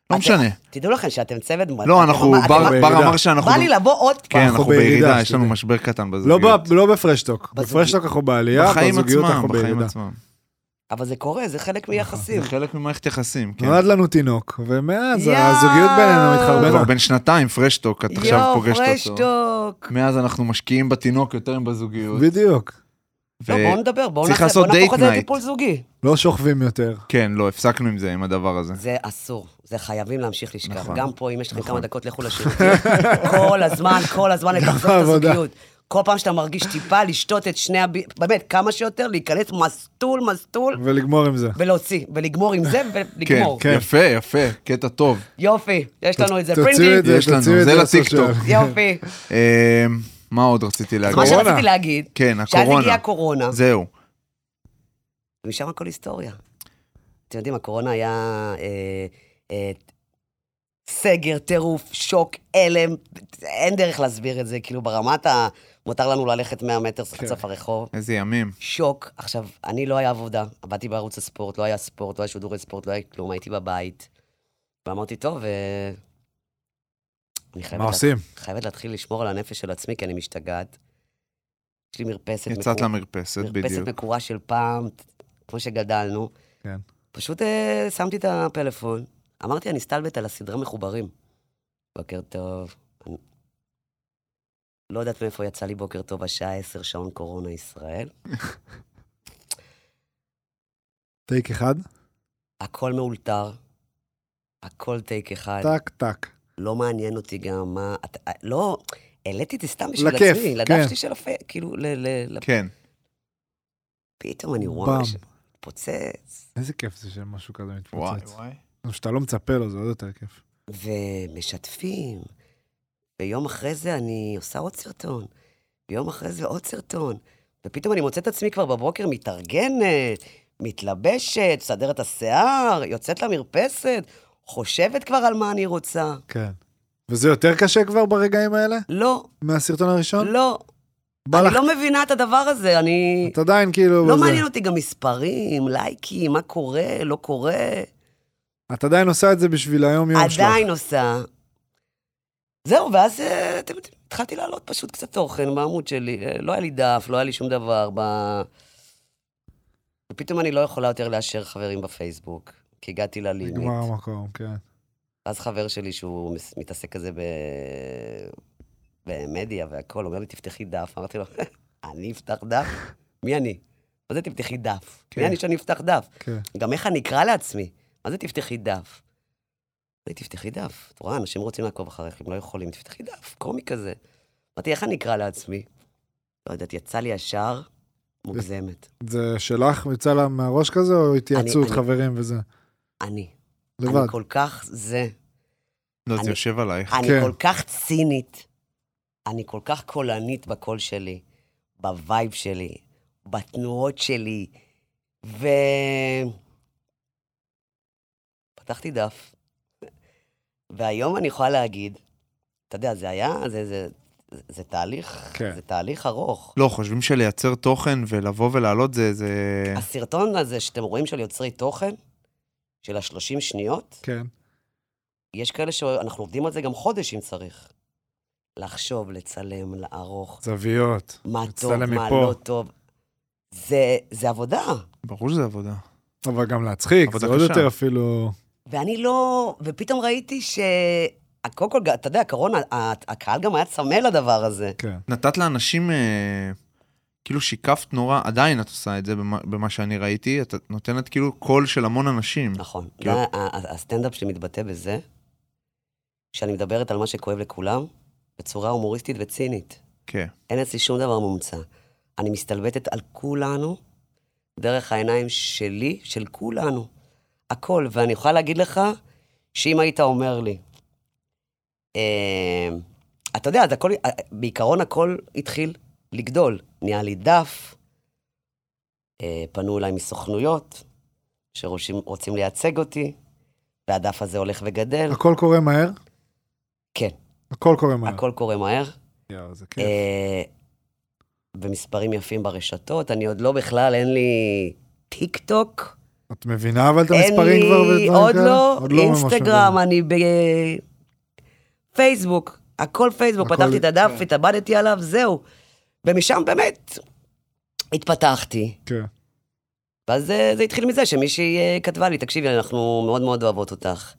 לא
אתם-
משנה.
תדעו לכם שאתם צבד...
לא,
אתם
אנחנו,
ממש-
בר
אתם-
בר
בירידה.
אמר שאנחנו...
בא לי לבוא עוד
כן,
פעם.
אנחנו
אנחנו בירידה,
בירידה, יש לנו
שתדעי.
משבר קטן
לא
בזוגיות.
ב- לא בפרשטוק.
בזוגיות.
בפרשטוק אנחנו בעלייה,
בחיים
בזוגיות
עצמם,
אנחנו
בחיים
בירידה.
עצמם.
אבל זה קורה, זה חלק מיחסים.
זה חלק ממערכת יחסים, כן.
נולד לנו תינוק, ומאז
יואו.
הזוגיות בינינו
כבר
מתחרבנת.
בן שנתיים, פרשטוק, את עכשיו פוגשת אותו.
פרשטוק.
מאז אנחנו משקיעים בתינוק יותר מבזוגיות.
בדיוק.
ו-
לא, בואו נדבר, בואו
צריך
נעשה-
לעשות
בואו נהפוך את
date
זה
night.
לטיפול זוגי.
לא שוכבים יותר.
כן, לא, הפסקנו עם זה, עם הדבר הזה.
זה אסור, זה חייבים להמשיך לשכב.
נכון.
גם פה, אם יש לכם כמה דקות, לכו לשירותים. כל הזמן, כל הזמן לתחזור את
בעבודה.
הזוגיות. כל פעם שאתה מרגיש טיפה, לשתות את שני הב... באמת, כמה שיותר, להיכנס מסטול, מסטול,
ולגמור עם זה.
ולהוציא, ולגמור עם זה,
כן,
ולגמור.
כן. יפה, יפה, קטע טוב.
יופי, יש לנו את זה.
תוציאו
פרינטי,
את זה,
יש לנו,
תוציאו את
זה
זה
לטיקטוק.
לסושיאל.
יופי.
אה, מה עוד רציתי
אז
להגיד?
מה
הקורונה.
שרציתי להגיד,
כן,
שאז
הקורונה.
הגיעה הקורונה,
זהו.
ומשם הכל היסטוריה. אתם יודעים, הקורונה היה אה, אה, סגר, טירוף, שוק, הלם, אין דרך להסביר את זה, כאילו ברמת ה... מותר לנו ללכת 100 מטר
כן.
עד סוף הרחוב.
איזה ימים.
שוק. עכשיו, אני לא היה עבודה, עבדתי בערוץ הספורט, לא היה ספורט, לא היה שידורי ספורט, לא היה כלום, הייתי בבית. ואמרתי, טוב, אה, אני חייבת...
מה
לה-
עושים?
חייבת להתחיל לשמור על הנפש של עצמי, כי אני משתגעת. יש לי מרפסת
יצאת
מקור-
למרפסת,
מרפסת
בדיוק.
מקורה של פעם, כמו שגדלנו.
כן.
פשוט אה, שמתי את הפלאפון, אמרתי, אני אסתלבט על הסדרה מחוברים. בוקר טוב. אני... לא יודעת מאיפה יצא לי בוקר טוב, השעה 10, שעון קורונה ישראל.
טייק אחד,
הכל מאולתר, הכל טייק אחד.
טק, טק.
לא מעניין אותי גם מה... אתה, לא, העליתי את זה סתם בשביל
לכיף,
עצמי,
כן.
לדף שלי של הפייק, כאילו, ל, ל, ל,
כן.
פתאום אני רואה
באם.
משהו מתפוצץ,
איזה כיף זה שמשהו כזה
וואי,
מתפוצץ.
וואי.
גם שאתה לא מצפה לו, זה עוד יותר כיף.
ומשתפים. ויום אחרי זה אני עושה עוד סרטון, ויום אחרי זה עוד סרטון. ופתאום אני מוצאת עצמי כבר בבוקר מתארגנת, מתלבשת, מסדרת את השיער, יוצאת למרפסת, חושבת כבר על מה אני רוצה.
כן. וזה יותר קשה כבר ברגעים האלה?
לא,
מהסרטון הראשון?
לא,
בא
אני
לך?
לא מבינה את הדבר הזה, אני...
את עדיין כאילו...
לא
בזה.
מעניין אותי גם מספרים, לייקים, מה קורה, לא קורה.
את עדיין עושה את זה בשביל היום-יום שלך.
עדיין עושה. זהו, ואז אה, אתם יודעים, התחלתי להעלות פשוט קצת תוכן בעמוד שלי. אה, לא היה לי דף, לא היה לי שום דבר. ב... ופתאום אני לא יכולה יותר לאשר חברים בפייסבוק, כי הגעתי ללימיט.
נגמר המקום, כן.
אז חבר שלי, שהוא מס- מתעסק כזה ב... במדיה והכל, אומר לי, תפתחי דף. אמרתי לו, אני אפתח דף? מי אני? מה זה תפתחי דף? מי
כן.
אני שאני אפתח דף?
כן.
גם איך אני אקרא לעצמי? מה זה תפתחי דף? אמרתי, תפתחי דף. את רואה, אנשים רוצים לעקוב אחריך, הם לא יכולים, תפתחי דף, קומי כזה. אמרתי, איך אני אקרא לעצמי? לא יודעת, יצא לי ישר מוגזמת.
זה שלך, יצא לה מהראש כזה, או התייעצות
אני-
חברים וזה?
אני. אני
לבד.
כל כך זה.
לא,
אני-
זה יושב עלייך.
אני
כן.
כל כך צינית. אני כל כך קולנית בקול שלי, בווייב שלי, בתנועות שלי, ו... פתחתי דף, והיום אני יכולה להגיד, אתה יודע, זה היה, זה, זה, זה, זה תהליך,
כן.
זה תהליך ארוך.
לא, חושבים שלייצר תוכן ולבוא ולעלות זה... זה...
כן.
הסרטון הזה שאתם רואים של יוצרי תוכן, של ה-30 שניות,
כן.
יש כאלה שאנחנו עובדים על זה גם חודש אם צריך. לחשוב, לצלם, לערוך,
זוויות.
מה טוב,
לצלם
מה
מפה.
לא טוב. זה, זה עבודה.
ברור שזה עבודה.
אבל גם להצחיק, זה
עבודה
עוד
קשה.
יותר אפילו...
ואני לא... ופתאום ראיתי ש... קודם כל, אתה יודע, קרון, ה- ה- הקהל גם היה צמא לדבר הזה.
כן.
נתת לאנשים, אה, כאילו שיקפת נורא, עדיין את עושה את זה במה, במה שאני ראיתי, את נותנת כאילו קול של המון אנשים.
נכון.
כן.
זה ה- ה- הסטנדאפ שלי מתבטא בזה, שאני מדברת על מה שכואב לכולם, בצורה הומוריסטית וצינית.
כן.
אין אצלי שום דבר מומצא. אני מסתלבטת על כולנו דרך העיניים שלי, של כולנו. הכל. ואני יכולה להגיד לך שאם היית אומר לי, אה, אתה יודע, אז הכל, אה, בעיקרון הכל התחיל לגדול. נהיה לי דף, אה, פנו אליי מסוכנויות שרוצים רוצים לייצג אותי, והדף הזה הולך וגדל.
הכל קורה מהר?
כן,
הכל קורה מהר.
הכל קורה מהר.
יואו, זה כיף.
אה, במספרים יפים ברשתות, אני עוד לא בכלל, אין לי טיק טוק,
את מבינה אבל את
אין
המספרים כבר
לי,
ודברים
עוד
כאלה?
לא,
ממש
אינסטגרם,
מבינה.
אני בפייסבוק, הכל פייסבוק,
הכל- כן.
פתחתי את הדף, התאבדתי עליו, זהו. ומשם באמת התפתחתי.
כן.
ואז אה, זה התחיל מזה שמישהי אה, כתבה לי, תקשיבי, אנחנו מאוד מאוד אוהבות אותך.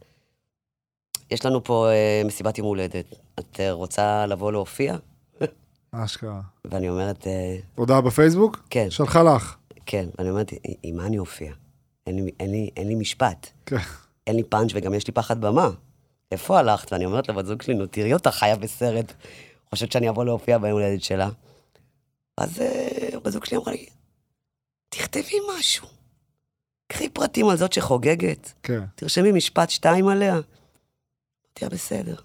יש לנו פה אה, מסיבת יום הולדת, את אה, רוצה לבוא להופיע?
אשכרה.
ואני אומרת, אה,
הודעה בפייסבוק?
כן.
שלחה לך.
כן, ואני אומרת, "עם- עם מה אני אופיע? אין לי, אין, לי, אין לי משפט,
כן.
אין לי פאנץ' וגם יש לי פחד במה. איפה הלכת? ואני אומרת לבת זוג שלי, נו, תראי אותה חיה בסרט. חושבת שאני אבוא להופיע ביום הולדת שלה. אז אה, בת זוג שלי אמרה לי, תכתבי משהו. קחי פרטים על זאת שחוגגת,
כן.
תרשמי משפט שתיים עליה. אמרתי לה, בסדר.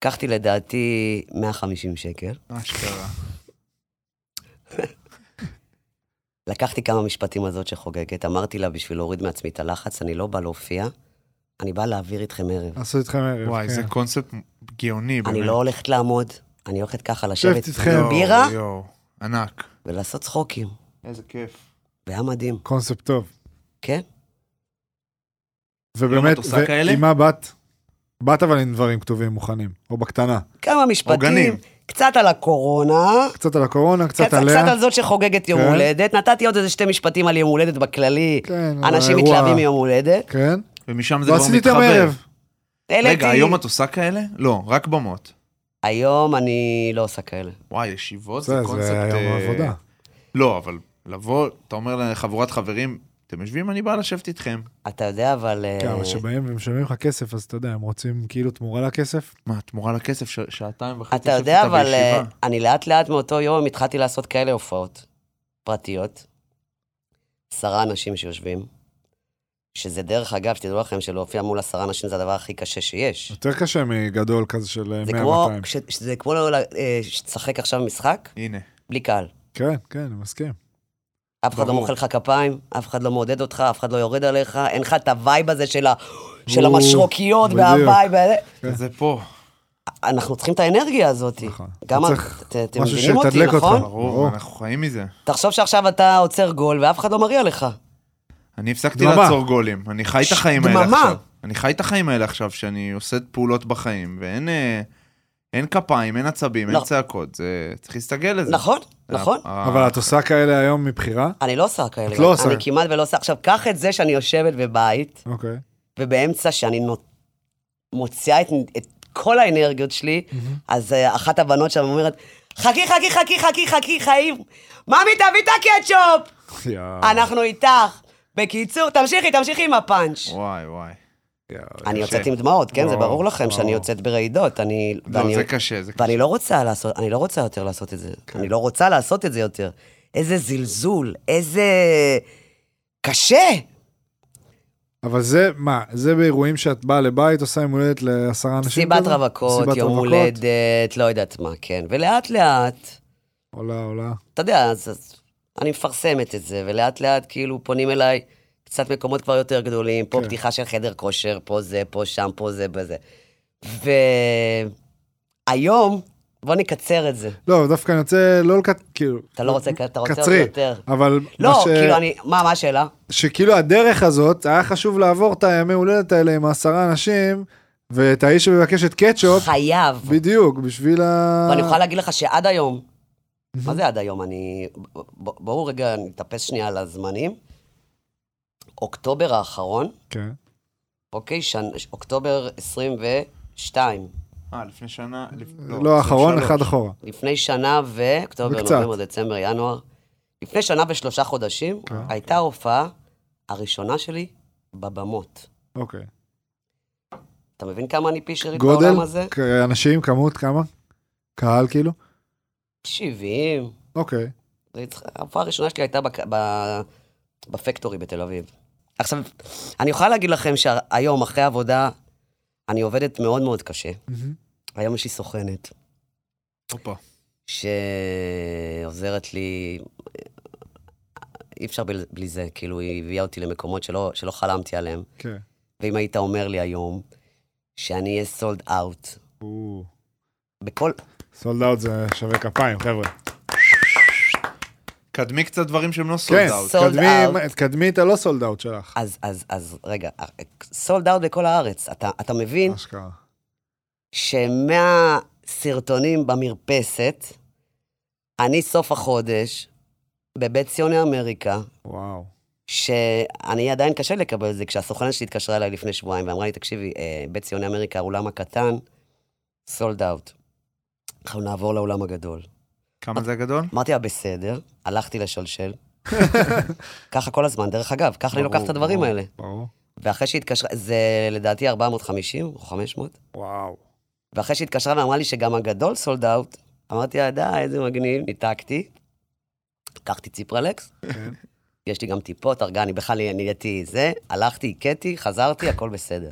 לקחתי לדעתי 150 שקל,
אשכרה.
לקחתי כמה משפטים על זאת שחוגגת, אמרתי לה, בשביל להוריד מעצמי את הלחץ, אני לא בא להופיע, אני בא להעביר איתכם ערב.
עשו איתכם ערב.
וואי,
כן.
זה קונספט גאוני, באמת.
אני לא הולכת לעמוד, אני הולכת ככה לשבת
איתכם. לא,
עם
יואו,
בירה
יואו, ענק.
ולעשות צחוקים.
איזה כיף.
והיה מדהים,
קונספט טוב.
כן?
ובאמת,
את עושה כאלה?
ועם מה באת? באת אבל עם דברים כתובים מוכנים, או בקטנה.
כמה משפטים,
עוגנים.
קצת על הקורונה,
קצת על הקורונה, קצת,
קצת,
עליה.
קצת על זאת שחוגגת יום
כן.
הולדת, נתתי עוד איזה שתי משפטים על יום הולדת בכללי,
כן, על
אנשים
האירוע.
מתלהבים מיום הולדת.
כן.
ומשם זה כבר
ועשיתי איתם
מתחבר.
ערב.
העליתי-
כן.
רגע, היום את עושה כאלה? לא, רק במות.
היום אני לא עושה כאלה.
וואי, ישיבות זה
זה,
קונספט...
זה היום
אה,
העבודה.
לא, אבל לבוא, אתה אומר לחבורת חברים, אתם יושבים, אני בא לשבת איתכם.
אתה יודע, אבל... אה,
כן, אבל כשבאים ומשלמים לך כסף, אז אתה יודע, הם רוצים כאילו תמורה לכסף.
מה, תמורה לכסף, ש- שעתיים וחצי
אתה
יושבת
יודע,
איתה
אבל אה,
בישיבה.
אני לאט לאט מאותו יום התחלתי לעשות כאלה הופעות פרטיות. עשרה אנשים שיושבים, שזה דרך אגב, שתדעו לכם שלהופיע מול עשרה אנשים זה הדבר הכי קשה שיש.
יותר קשה מגדול כזה של אה,
זה
100-200.
כמו, כש- זה כמו לא- אה, שתשחק עכשיו משחק
הנה,
בלי קהל.
כן, כן, אני מסכים.
אף אחד לא
ברור.
מוחא לך כפיים, אף אחד לא מעודד אותך, אף אחד לא יורד עליך, אין לך את הווייב הזה של ה- של המשרוקיות
בדיוק.
והווייב. האלה.
כן.
זה פה.
אנחנו צריכים את האנרגיה הזאת.
נכון.
גם
אתה
ה-
צריך
ת- אתם
משהו
מבינים אותי,
שיתדלק אותך.
נכון?
ברור,
ברור.
אנחנו חיים מזה.
תחשוב שעכשיו אתה עוצר גול ואף אחד לא מריע לך.
אני הפסקתי
דממה.
לעצור גולים, אני חי את
ש-
החיים האלה
דממה.
עכשיו. אני חי את החיים האלה עכשיו, שאני עושה פעולות בחיים, ואין אה, אין כפיים, אין עצבים,
לא.
אין צעקות, זה- צריך להסתגל לזה.
נכון, נכון.
ה-
אבל את עושה כאלה היום מבחירה?
אני לא עושה כאלה.
את לא עושה.
אני כמעט ולא עושה. עכשיו, קח את זה שאני יושבת בבית,
אוקיי.
ובאמצע שאני נות- מוציאה את, את כל האנרגיות שלי, אז אה, אחת הבנות שם אומרת, חכי, חכי, חכי, חכי, חכי, חיים. ממי, תביא את הקטשופ!
יאו,
אנחנו איתך. בקיצור, תמשיכי, תמשיכי עם הפאנץ'.
וואי, וואי.
יאו.
אני יוצאת עם דמעות, כן? זה
וואו,
ברור לכם שאני
וואו.
יוצאת ברעידות. אני...
לא,
ואני-
זה קשה, זה
ואני
קשה.
לא רוצה לעשות, אני לא רוצה יותר לעשות את זה.
כן.
אני לא רוצה לעשות את זה יותר. איזה זלזול, איזה... קשה.
אבל זה, מה, זה באירועים שאת באה לבית, עושה יום הולדת לעשרה אנשים?
מסיבת
כזה?
רווקות,
מסיבת
יום
רווקות?
הולדת, לא יודעת מה, כן. ולאט לאט,
עולה, עולה.
אתה יודע, אז, אז אני מפרסמת את זה, ולאט לאט כאילו פונים אליי קצת מקומות כבר יותר גדולים, פה
כן.
פתיחה של חדר כושר, פה זה, פה שם, פה זה, בזה. והיום, בוא נקצר את זה.
לא, דווקא אני רוצה לא לקט... כאילו...
אתה לא רוצה, אתה רוצה עוד
קצרי,
יותר.
אבל... מה
לא,
ש-
כאילו אני, מה, מה השאלה?
שכאילו הדרך הזאת, היה חשוב לעבור את הימי הולדת האלה עם העשרה אנשים, ואת האיש שמבקש את קטשופ,
חייב.
בדיוק, בשביל ה...
ואני יכולה להגיד לך שעד היום, מה זה עד היום? אני... ב- ב- בואו רגע נתאפס שנייה על הזמנים. אוקטובר האחרון,
כן.
אוקיי, שנ... אוקטובר 22,
אה, לפני שנה? לפ-
לא, האחרון,
23.
אחד אחורה.
לפני שנה ו... אוקטובר,
וקצת.
נובמבר, דצמבר, ינואר. לפני שנה ושלושה חודשים,
כן.
הייתה ההופעה הראשונה שלי בבמות.
אוקיי.
אתה מבין כמה אני פישרית
גודל?
בעולם הזה?
כ- אנשים, כמות, כמה? קהל כאילו?
70.
אוקיי.
זה הצ- ההופעה הראשונה שלי הייתה בק... ב... בפקטורי בתל אביב. עכשיו, אני יכולה להגיד לכם שהיום, אחרי עבודה, אני עובדת מאוד מאוד קשה.
מהמם.
היום יש לי סוכנת
הופה.
שעוזרת לי, אי אפשר בלי, בלי זה, כאילו, היא הביאה אותי למקומות שלא, שלא חלמתי עליהם.
כן.
ואם היית אומר לי היום שאני אהיה סולד אאוט, בכל...
סולד אאוט זה שווה כפיים, חבר'ה.
קדמי קצת דברים שהם לא סולד
כן,
אאוט.
Sold
קדמי- קדמי את הלא סולד אאוט לא שלך.
אז, אז, אז רגע, סולד אאוט בכל הארץ, אתה, אתה מבין?
אשכרה.
שמהסרטונים במרפסת, אני סוף החודש בבית ציוני אמריקה,
וואו.
שאני עדיין קשה לקבל את זה, כשהסוכנת שלי התקשרה אליי לפני שבועיים ואמרה לי, תקשיבי, אה, בית ציוני אמריקה, האולם הקטן, סולד אאוט. אנחנו נעבור לאולם הגדול.
כמה זה גדול?
אמרתי לה, בסדר, הלכתי לשלשל. ככה כל הזמן, דרך אגב, ככה אני
ברור,
לוקח את הדברים
ברור,
האלה.
ברור.
ואחרי שהתקשרה, זה לדעתי 450 או 500.
וואו.
ואחרי שהתקשרה ואמרה לי שגם הגדול סולד אאוט, אמרתי לה, די, איזה מגניב, ניתקתי. לקחתי ציפרלקס,
כן.
יש לי גם טיפות, הרגע, אני בכלל נהייתי זה, הלכתי, הכיתי, חזרתי, הכל בסדר.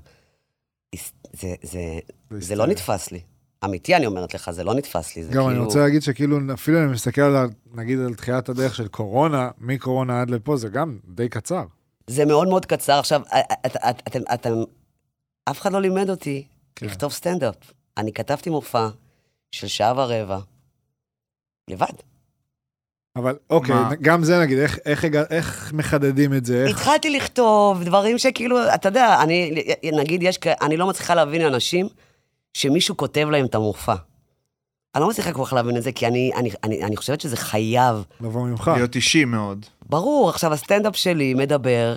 הס- זה, זה, זה לא
היסטרי.
נתפס לי. אמיתי, אני אומרת לך, זה לא נתפס לי. זה
גם
כאילו...
אני רוצה להגיד שכאילו, אפילו אני מסתכל על, ה- נגיד, על תחילת הדרך של קורונה, מקורונה עד לפה, זה גם די קצר.
זה מאוד מאוד קצר. עכשיו, את- את- את- אתם, אתם, אף אחד לא לימד אותי
כן.
לכתוב סטנדאפ. אני כתבתי מופע של שעה ורבע, לבד.
אבל אוקיי,
מה?
גם זה נגיד, איך- איך הגע- איך מחדדים את זה? איך-
התחלתי לכתוב דברים שכאילו, אתה יודע, אני, נגיד, יש, כ- אני לא מצליחה להבין אנשים שמישהו כותב להם את המופע. אני לא מצליחה כל כך להבין את זה, כי אני, אני, אני, אני חושבת שזה חייב.
לבוא ממך.
להיות אישי מאוד.
כן.
ברור, עכשיו הסטנדאפ שלי מדבר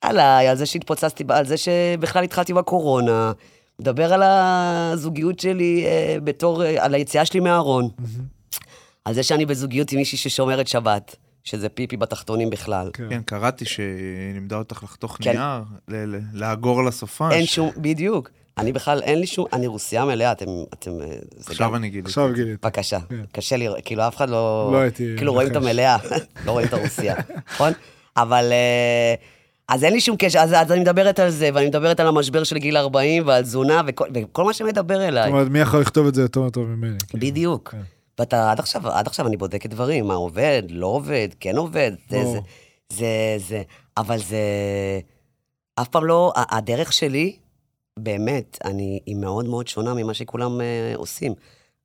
עליי, על זה שהתפוצצתי, ב- על זה שבכלל התחלתי בקורונה, מדבר על הזוגיות שלי אה, בתור, אה, על היציאה שלי מהארון,
מהמם.
על זה שאני בזוגיות עם מישהי ששומרת שבת, שזה פיפי בתחתונים בכלל.
כן.
כן, קראתי שהיא לימדה אותך לחתוך
כן.
נייר, ל- ל- לאגור לסופש.
אין שום, בדיוק. אני בכלל, אין לי שום, אני רוסייה מלאה, אתם, אתם, אה, זה גם,
עכשיו אני גיליתי.
עכשיו גילית.
בבקשה.
כן.
קשה לי, כאילו אף אחד לא,
לא הייתי
כאילו רואים את
מנחש.
המלאה, לא רואים את הרוסייה, נכון? אבל, אה, אז אין לי שום קשר, אז, אז אני מדברת על זה, ואני מדברת על המשבר של גיל 40, ועל תזונה, וכל, וכל מה שמדבר
זאת
אליי.
אומרת, מי יכול לכתוב את זה יותר טוב ממני? כאילו?
בדיוק.
כן.
ואתה, עד עכשיו, עד עכשיו אני בודקת דברים, מה עובד, לא עובד, כן עובד, זה,
ברור.
זה, זה, זה, אבל זה, אף פעם לא, ה- הדרך שלי, באמת, אני, היא מאוד מאוד שונה ממה שכולם אה, עושים.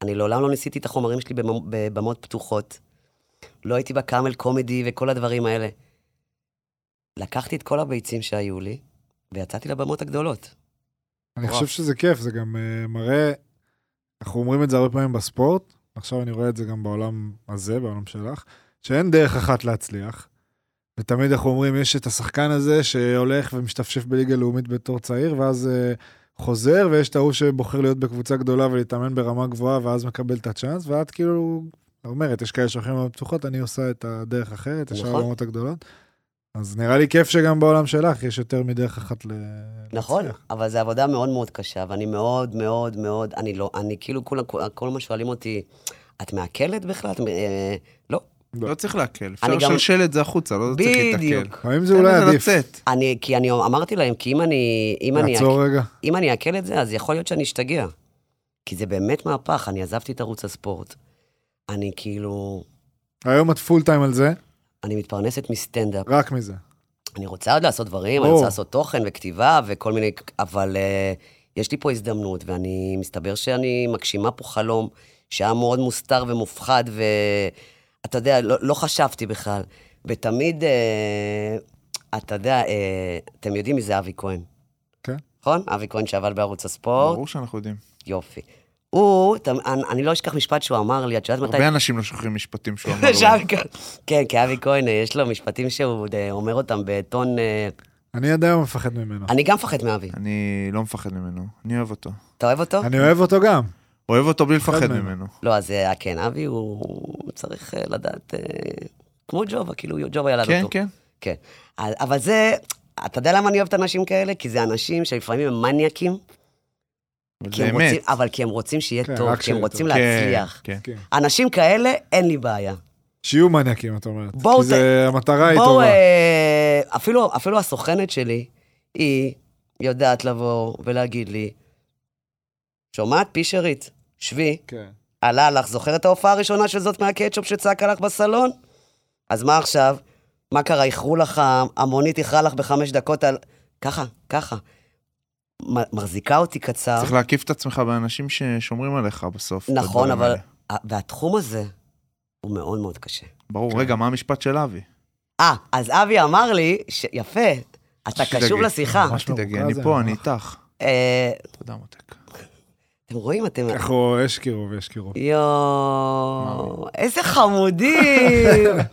אני לעולם לא ניסיתי את החומרים שלי במ- בבמות פתוחות. לא הייתי בקאמל קומדי וכל הדברים האלה. לקחתי את כל הביצים שהיו לי, ויצאתי לבמות הגדולות.
אני
מטורף.
חושב שזה כיף, זה גם אה, מראה, אנחנו אומרים את זה הרבה פעמים בספורט, עכשיו אני רואה את זה גם בעולם הזה, בעולם שלך, שאין דרך אחת להצליח. ותמיד אנחנו אומרים, יש את השחקן הזה שהולך ומשתפשף בליגה לאומית בתור צעיר, ואז אה, חוזר, ויש את ההוא שבוחר להיות בקבוצה גדולה ולהתאמן ברמה גבוהה, ואז מקבל את הצ'אנס, ואת כאילו אומרת, יש כאלה שהולכים לבמות פתוחות, אני עושה את הדרך אחרת, ישר
נכון.
לבמות הגדולות. אז נראה לי כיף שגם בעולם שלך יש יותר מדרך אחת ל...
נכון,
להצליח.
אבל זו עבודה מאוד מאוד קשה, ואני מאוד מאוד מאוד, אני לא, אני כאילו, כולם, כל- כל מה שואלים אותי, את מעכלת בכלל? את מ- אה, לא,
לא צריך להקל, אפשר
אני גם-
לשלשל את זה החוצה, לא צריך להתקל.
בדיוק.
לפעמים זה אולי
תן לזה
עדיף.
לצאת.
אני, כי אני אמרתי להם, כי אם אני, אם אני,
תעצור רגע.
אם אני אעכל את זה, אז יכול להיות שאני אשתגע. כי זה באמת מהפך, אני עזבתי את ערוץ הספורט. אני כאילו,
היום את פול טיים על זה,
אני מתפרנסת מסטנדאפ.
רק מזה.
אני רוצה עוד לעשות דברים, אני
ברור.
רוצה לעשות תוכן וכתיבה וכל מיני, אבל uh, יש לי פה הזדמנות, ואני, מסתבר שאני מגשימה פה חלום שהיה מאוד מוסתר ומופחד, ואתה יודע, לא, לא חשבתי בכלל. ותמיד, uh, אתה יודע, uh, אתם יודעים מי זה אבי כהן.
כן.
נכון? אבי כהן שעבד בערוץ הספורט,
ברור שאנחנו יודעים.
יופי. הוא, ת, אני, אני לא אשכח משפט שהוא אמר לי, את יודעת מתי...
הרבה אנשים לא שוכחים משפטים שהוא אמר.
שאבי כהן- כן, כי אבי כהן, אה, יש לו משפטים שהוא אה, אומר אותם בטון... אה,
אני עד היום מפחד ממנו.
אני גם מפחד מאבי.
אני לא מפחד ממנו, אני אוהב אותו.
אתה אוהב אותו?
אני אוהב אותו גם.
אוהב אותו בלי
מפחד
לפחד
ממנו.
ממנו.
לא, אז אה, כן, אבי הוא הוא צריך אה, לדעת, אה, כמו ג'ובה, כאילו ג'ובה ילד
כן,
אותו.
כן.
כן. אז- אבל זה, אתה יודע למה אני אוהבת אנשים כאלה? כי זה אנשים שלפעמים הם מניאקים,
אבל
כי
זה
הם רוצים,
אמת.
אבל כי הם רוצים שיהיה
כן,
טוב,
רק
כי הם
שיהיה
רוצים
טוב.
כן,
להצליח.
כן.
כן.
אנשים כאלה, אין לי בעיה.
שיהיו מניאקים, את אומרת.
בואו
כי זה, המטרה היא
בואו,
טובה.
אה, אפילו, אפילו הסוכנת שלי, היא יודעת לבוא ולהגיד לי, שומעת פישרית, שבי,
כן.
עלה לך, זוכרת את ההופעה הראשונה של זאת מהקטשופ שצעקה לך בסלון? אז מה עכשיו? מה קרה, איחרו לך, המונית איחרה לך בחמש דקות על... ככה, ככה. מ- מחזיקה אותי קצר.
צריך להקיף את עצמך באנשים ששומרים עליך בסוף.
נכון,
בדברים
אבל...
האלה.
והתחום הזה הוא מאוד מאוד קשה.
ברור, רגע, מה המשפט של אבי?
אה, אז אבי אמר לי, ש... יפה, אתה
שתדאגי.
קשוב לשיחה.
ממש.
ממש תדאגי,
מרוכז,
אני פה,
אה.
אני איתך.
אה,
תודה, מותק.
אתם רואים, אתם...
אנחנו, יש קירוב, יש קירוב.
יואו, איזה חמודים.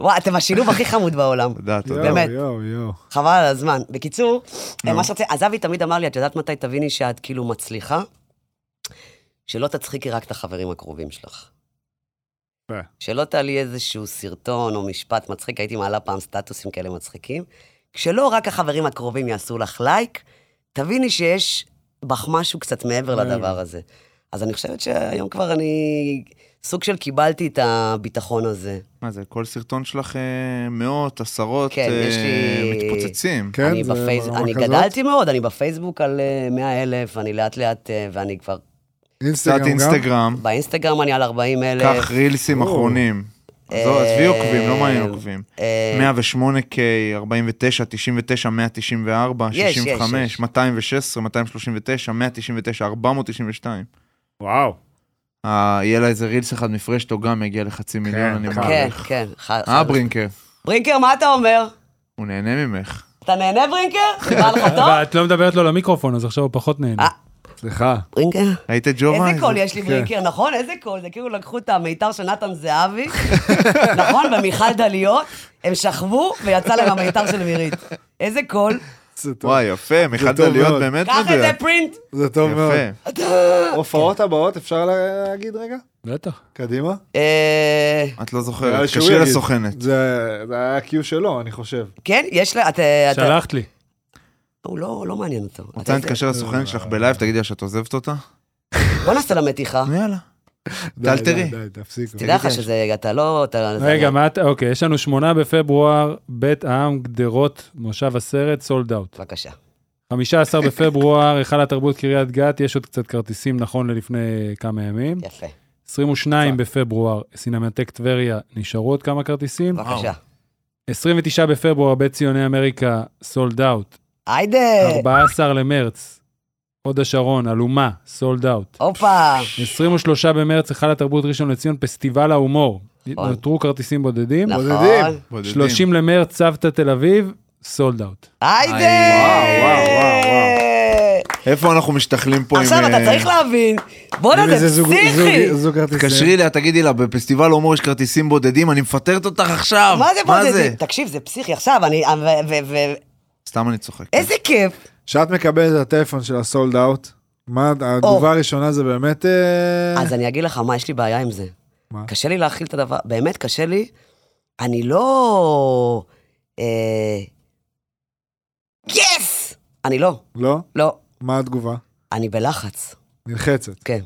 וואי, אתם השילוב הכי חמוד בעולם.
תודה, תודה.
יואו,
באמת.
יואו, יואו.
חבל על הזמן. בקיצור, אה, מה שרוצה, אז אבי תמיד אמר לי, את יודעת מתי תביני שאת כאילו מצליחה? שלא תצחיקי רק את החברים הקרובים שלך.
יפה.
שלא תעלי איזשהו סרטון או משפט מצחיק, הייתי מעלה פעם סטטוסים כאלה מצחיקים. כשלא רק החברים הקרובים יעשו לך לייק, תביני שיש בך משהו קצת מעבר
מעבר.
לדבר הזה. אז אני חושבת שהיום כבר אני סוג של קיבלתי את הביטחון הזה.
מה זה, כל סרטון שלך אה, מאות, עשרות,
כן, יש
אה,
לי-
מתפוצצים.
כן,
אני
זה
בפייס...
ברמה
אני
כזאת?
גדלתי מאוד, אני בפייסבוק על 100 אלף, אני לאט לאט, אה, ואני כבר...
אינסטגרם
קצת
גם.
אינסטגרם,
באינסטגרם אני על 40 אלף.
קח רילסים
או.
אחרונים. עזוב,
אה,
עזבי עוקבים, לא מעניין עוקבים.
אה,
108K, 49, 99, 194,
יש,
65,
יש.
216, 239, 199, 492.
וואו.
אה, יהיה לה איזה רילס אחד מפרש, או גם יגיע לחצי מיליון, אני
כן.
כן,
מעריך.
כן. ח-
אה,
חד-
ברינקר,
ברינקר, מה אתה אומר?
הוא נהנה ממך.
אתה נהנה, ברינקר? בא לך טוב?
אבל את לא מדברת לו למיקרופון, אז עכשיו הוא פחות נהנה.
אה,
סליחה.
ברינקר?
ראית את ג'ובה?
איזה קול יש לי ברינקר, נכון? איזה קול. זה כאילו לקחו את המיתר של נתן זהבי, נכון? ומיכל דליות, הם שכבו ויצא להם המיתר של מירית. איזה קול.
זה טוב.
וואי, יפה, מיכל
טוב
דליות
מאוד.
באמת
קח את זה
מדויק.
פרינט.
זה טוב מאוד.
יפה.
הופעות הבאות אפשר לה- להגיד רגע?
בטח.
קדימה.
אה,
את לא
נראה לי
זוכרת,
שהוא
קשה
יגיד.
לסוכנת.
זה זה היה קיו שלו, אני חושב.
כן, יש לה... את, אה, את-
שלחת לי.
הוא לא לא מעניין אותו.
רוצה להתקשר לסוכנת שלך בלייב, תגידי לה שאת עוזבת אותה?
בוא נעשה לה מתיחה.
יאללה.
די,
תאלתרי.
די, די, תפסיקו.
תדע לך שזה, אתה לא... אתה-
רגע, מה אתה, אוקיי, יש לנו שמונה בפברואר, בית העם, גדרות, מושב הסרט, סולד אאוט.
בבקשה.
15 בפברואר, היכל התרבות קריית גת, יש עוד קצת כרטיסים נכון ללפני כמה ימים.
יפה.
22 בפברואר, סינמטק טבריה, נשארו עוד כמה כרטיסים.
בבקשה.
29 בפברואר, בית ציוני אמריקה, סולד אאוט.
היידה!
אה.
14 למרץ, הוד השרון, אלומה, סולד אאוט.
הופה!
23 במרץ, היכל התרבות ראשון לציון, פסטיבל ההומור.
נכון.
נותרו כרטיסים בודדים.
בודדים.
נכון.
בודדים.
30 למרץ, סבתא תל אביב, סולד אאוט.
היידה!
וואו, וואו, וואו, איפה אנחנו משתחלים פה עם...
עכשיו אתה
אה,
צריך להבין, בואנה
איזה
זה
זוג-
פסיכי!
זוג- זוג כרטיסים.
תתקשרי אליה, תגידי לה, בפסטיבל הומור יש כרטיסים בודדים, אני מפטרת אותך עכשיו.
מה זה פה? זה- תקשיב, זה פסיכי עכשיו, אני... ו- ו- ו-
סתם אני צוחק.
איזה כיף!
כשאת מקבלת את הטלפון של הסולד אאוט, מה התגובה הראשונה זה באמת... אה,
אז אני אגיד לך, מה יש לי בעיה עם זה?
מה?
קשה לי להכיל את הדבר, באמת קשה לי. אני לא... אה, יס! אני לא,
לא?
לא.
מה התגובה?
אני בלחץ,
נלחצת.
כן.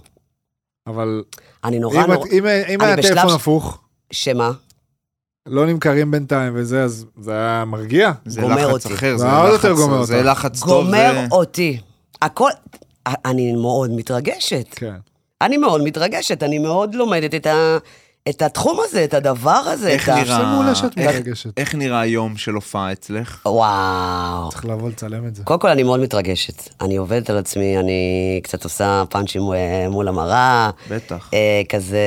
אבל
אני נורא
אם
נורא...
את- אם- אם
אני
היה
בשלב
טלפון
ש-
הפוך,
שמה?
לא נמכרים בינתיים וזה, אז זה היה מרגיע.
זה
גומר
לחץ
אותי.
אחר, זה
זה עוד
לחץ-
יותר גומר
זה
אותך.
לחץ טוב.
גומר
אה.
זה-
אותי. הכל... אני מאוד מתרגשת.
כן.
אני מאוד מתרגשת, אני מאוד לומדת את, ה, את התחום הזה, את הדבר הזה.
איך
את ה-
נראה-
זה מעולה שאת
איך-
מתרגשת.
איך נראה היום של הופעה אצלך?
וואו.
צריך לבוא לצלם את זה.
קודם כל, אני מאוד מתרגשת. אני עובדת על עצמי, אני קצת עושה פאנצ'ים אה, מול המראה.
בטח.
אה, כזה...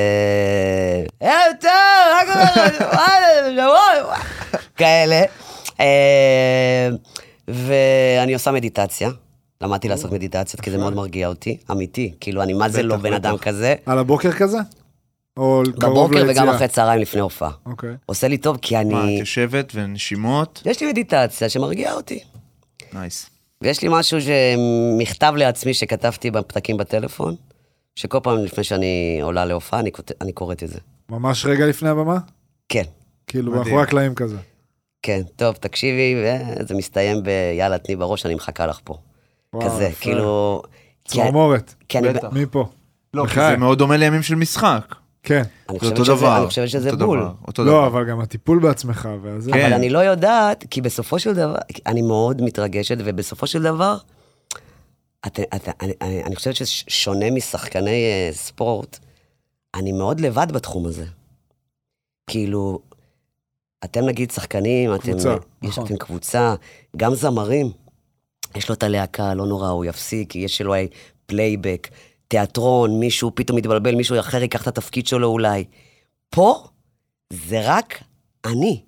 אה, טוב, מה קורה? וואי, וואי, וואי. כאלה. אה, ואני עושה מדיטציה. למדתי לעשות מדיטציות, כי זה מאוד מרגיע אותי, אמיתי. כאילו, אני מה זה לא בן אדם כזה.
על הבוקר כזה? או קרוב
בבוקר
ליציאה?
וגם אחרי צהריים לפני הופעה.
אוקיי.
עושה לי טוב, כי
מה, את
אני...
יושבת ונשימות?
יש לי מדיטציה שמרגיעה אותי.
נייס.
ויש לי משהו, ש- מכתב לעצמי שכתבתי בפתקים בטלפון, שכל פעם לפני שאני עולה להופעה, אני, כות... אני קוראת את זה.
ממש רגע לפני הבמה?
כן,
כאילו,
מדהים.
מאחורי הקלעים כזה.
כן, טוב, תקשיבי, וזה מסתיים ב... יאללה, תני בראש, אני מחכה לך פה.
וואו,
כזה,
יפה.
כאילו... כי,
צמרמורת.
כי אני,
בטח.
מפה.
לא, כי
בחייך.
זה מאוד דומה לימים של משחק.
כן.
זה
אני חושבת
אותו
שזה,
דבר.
אני חושבת שזה
אותו
בול.
דבר, אותו
לא,
דבר.
אבל גם הטיפול בעצמך, ואז...
כן.
אבל אני לא יודעת, כי בסופו של דבר, אני מאוד מתרגשת, ובסופו של דבר, את, את, אני, אני, אני חושבת ששונה משחקני אה, ספורט, אני מאוד לבד בתחום הזה. כאילו, אתם נגיד שחקנים, אתם...
קבוצה,
יש
נכון.
לכם קבוצה, גם זמרים, יש לו את הלהקה, לא נורא, הוא יפסיק, יש לו פלייבק, תיאטרון, מישהו פתאום מתבלבל, מישהו אחר ייקח את התפקיד שלו אולי. פה זה רק אני,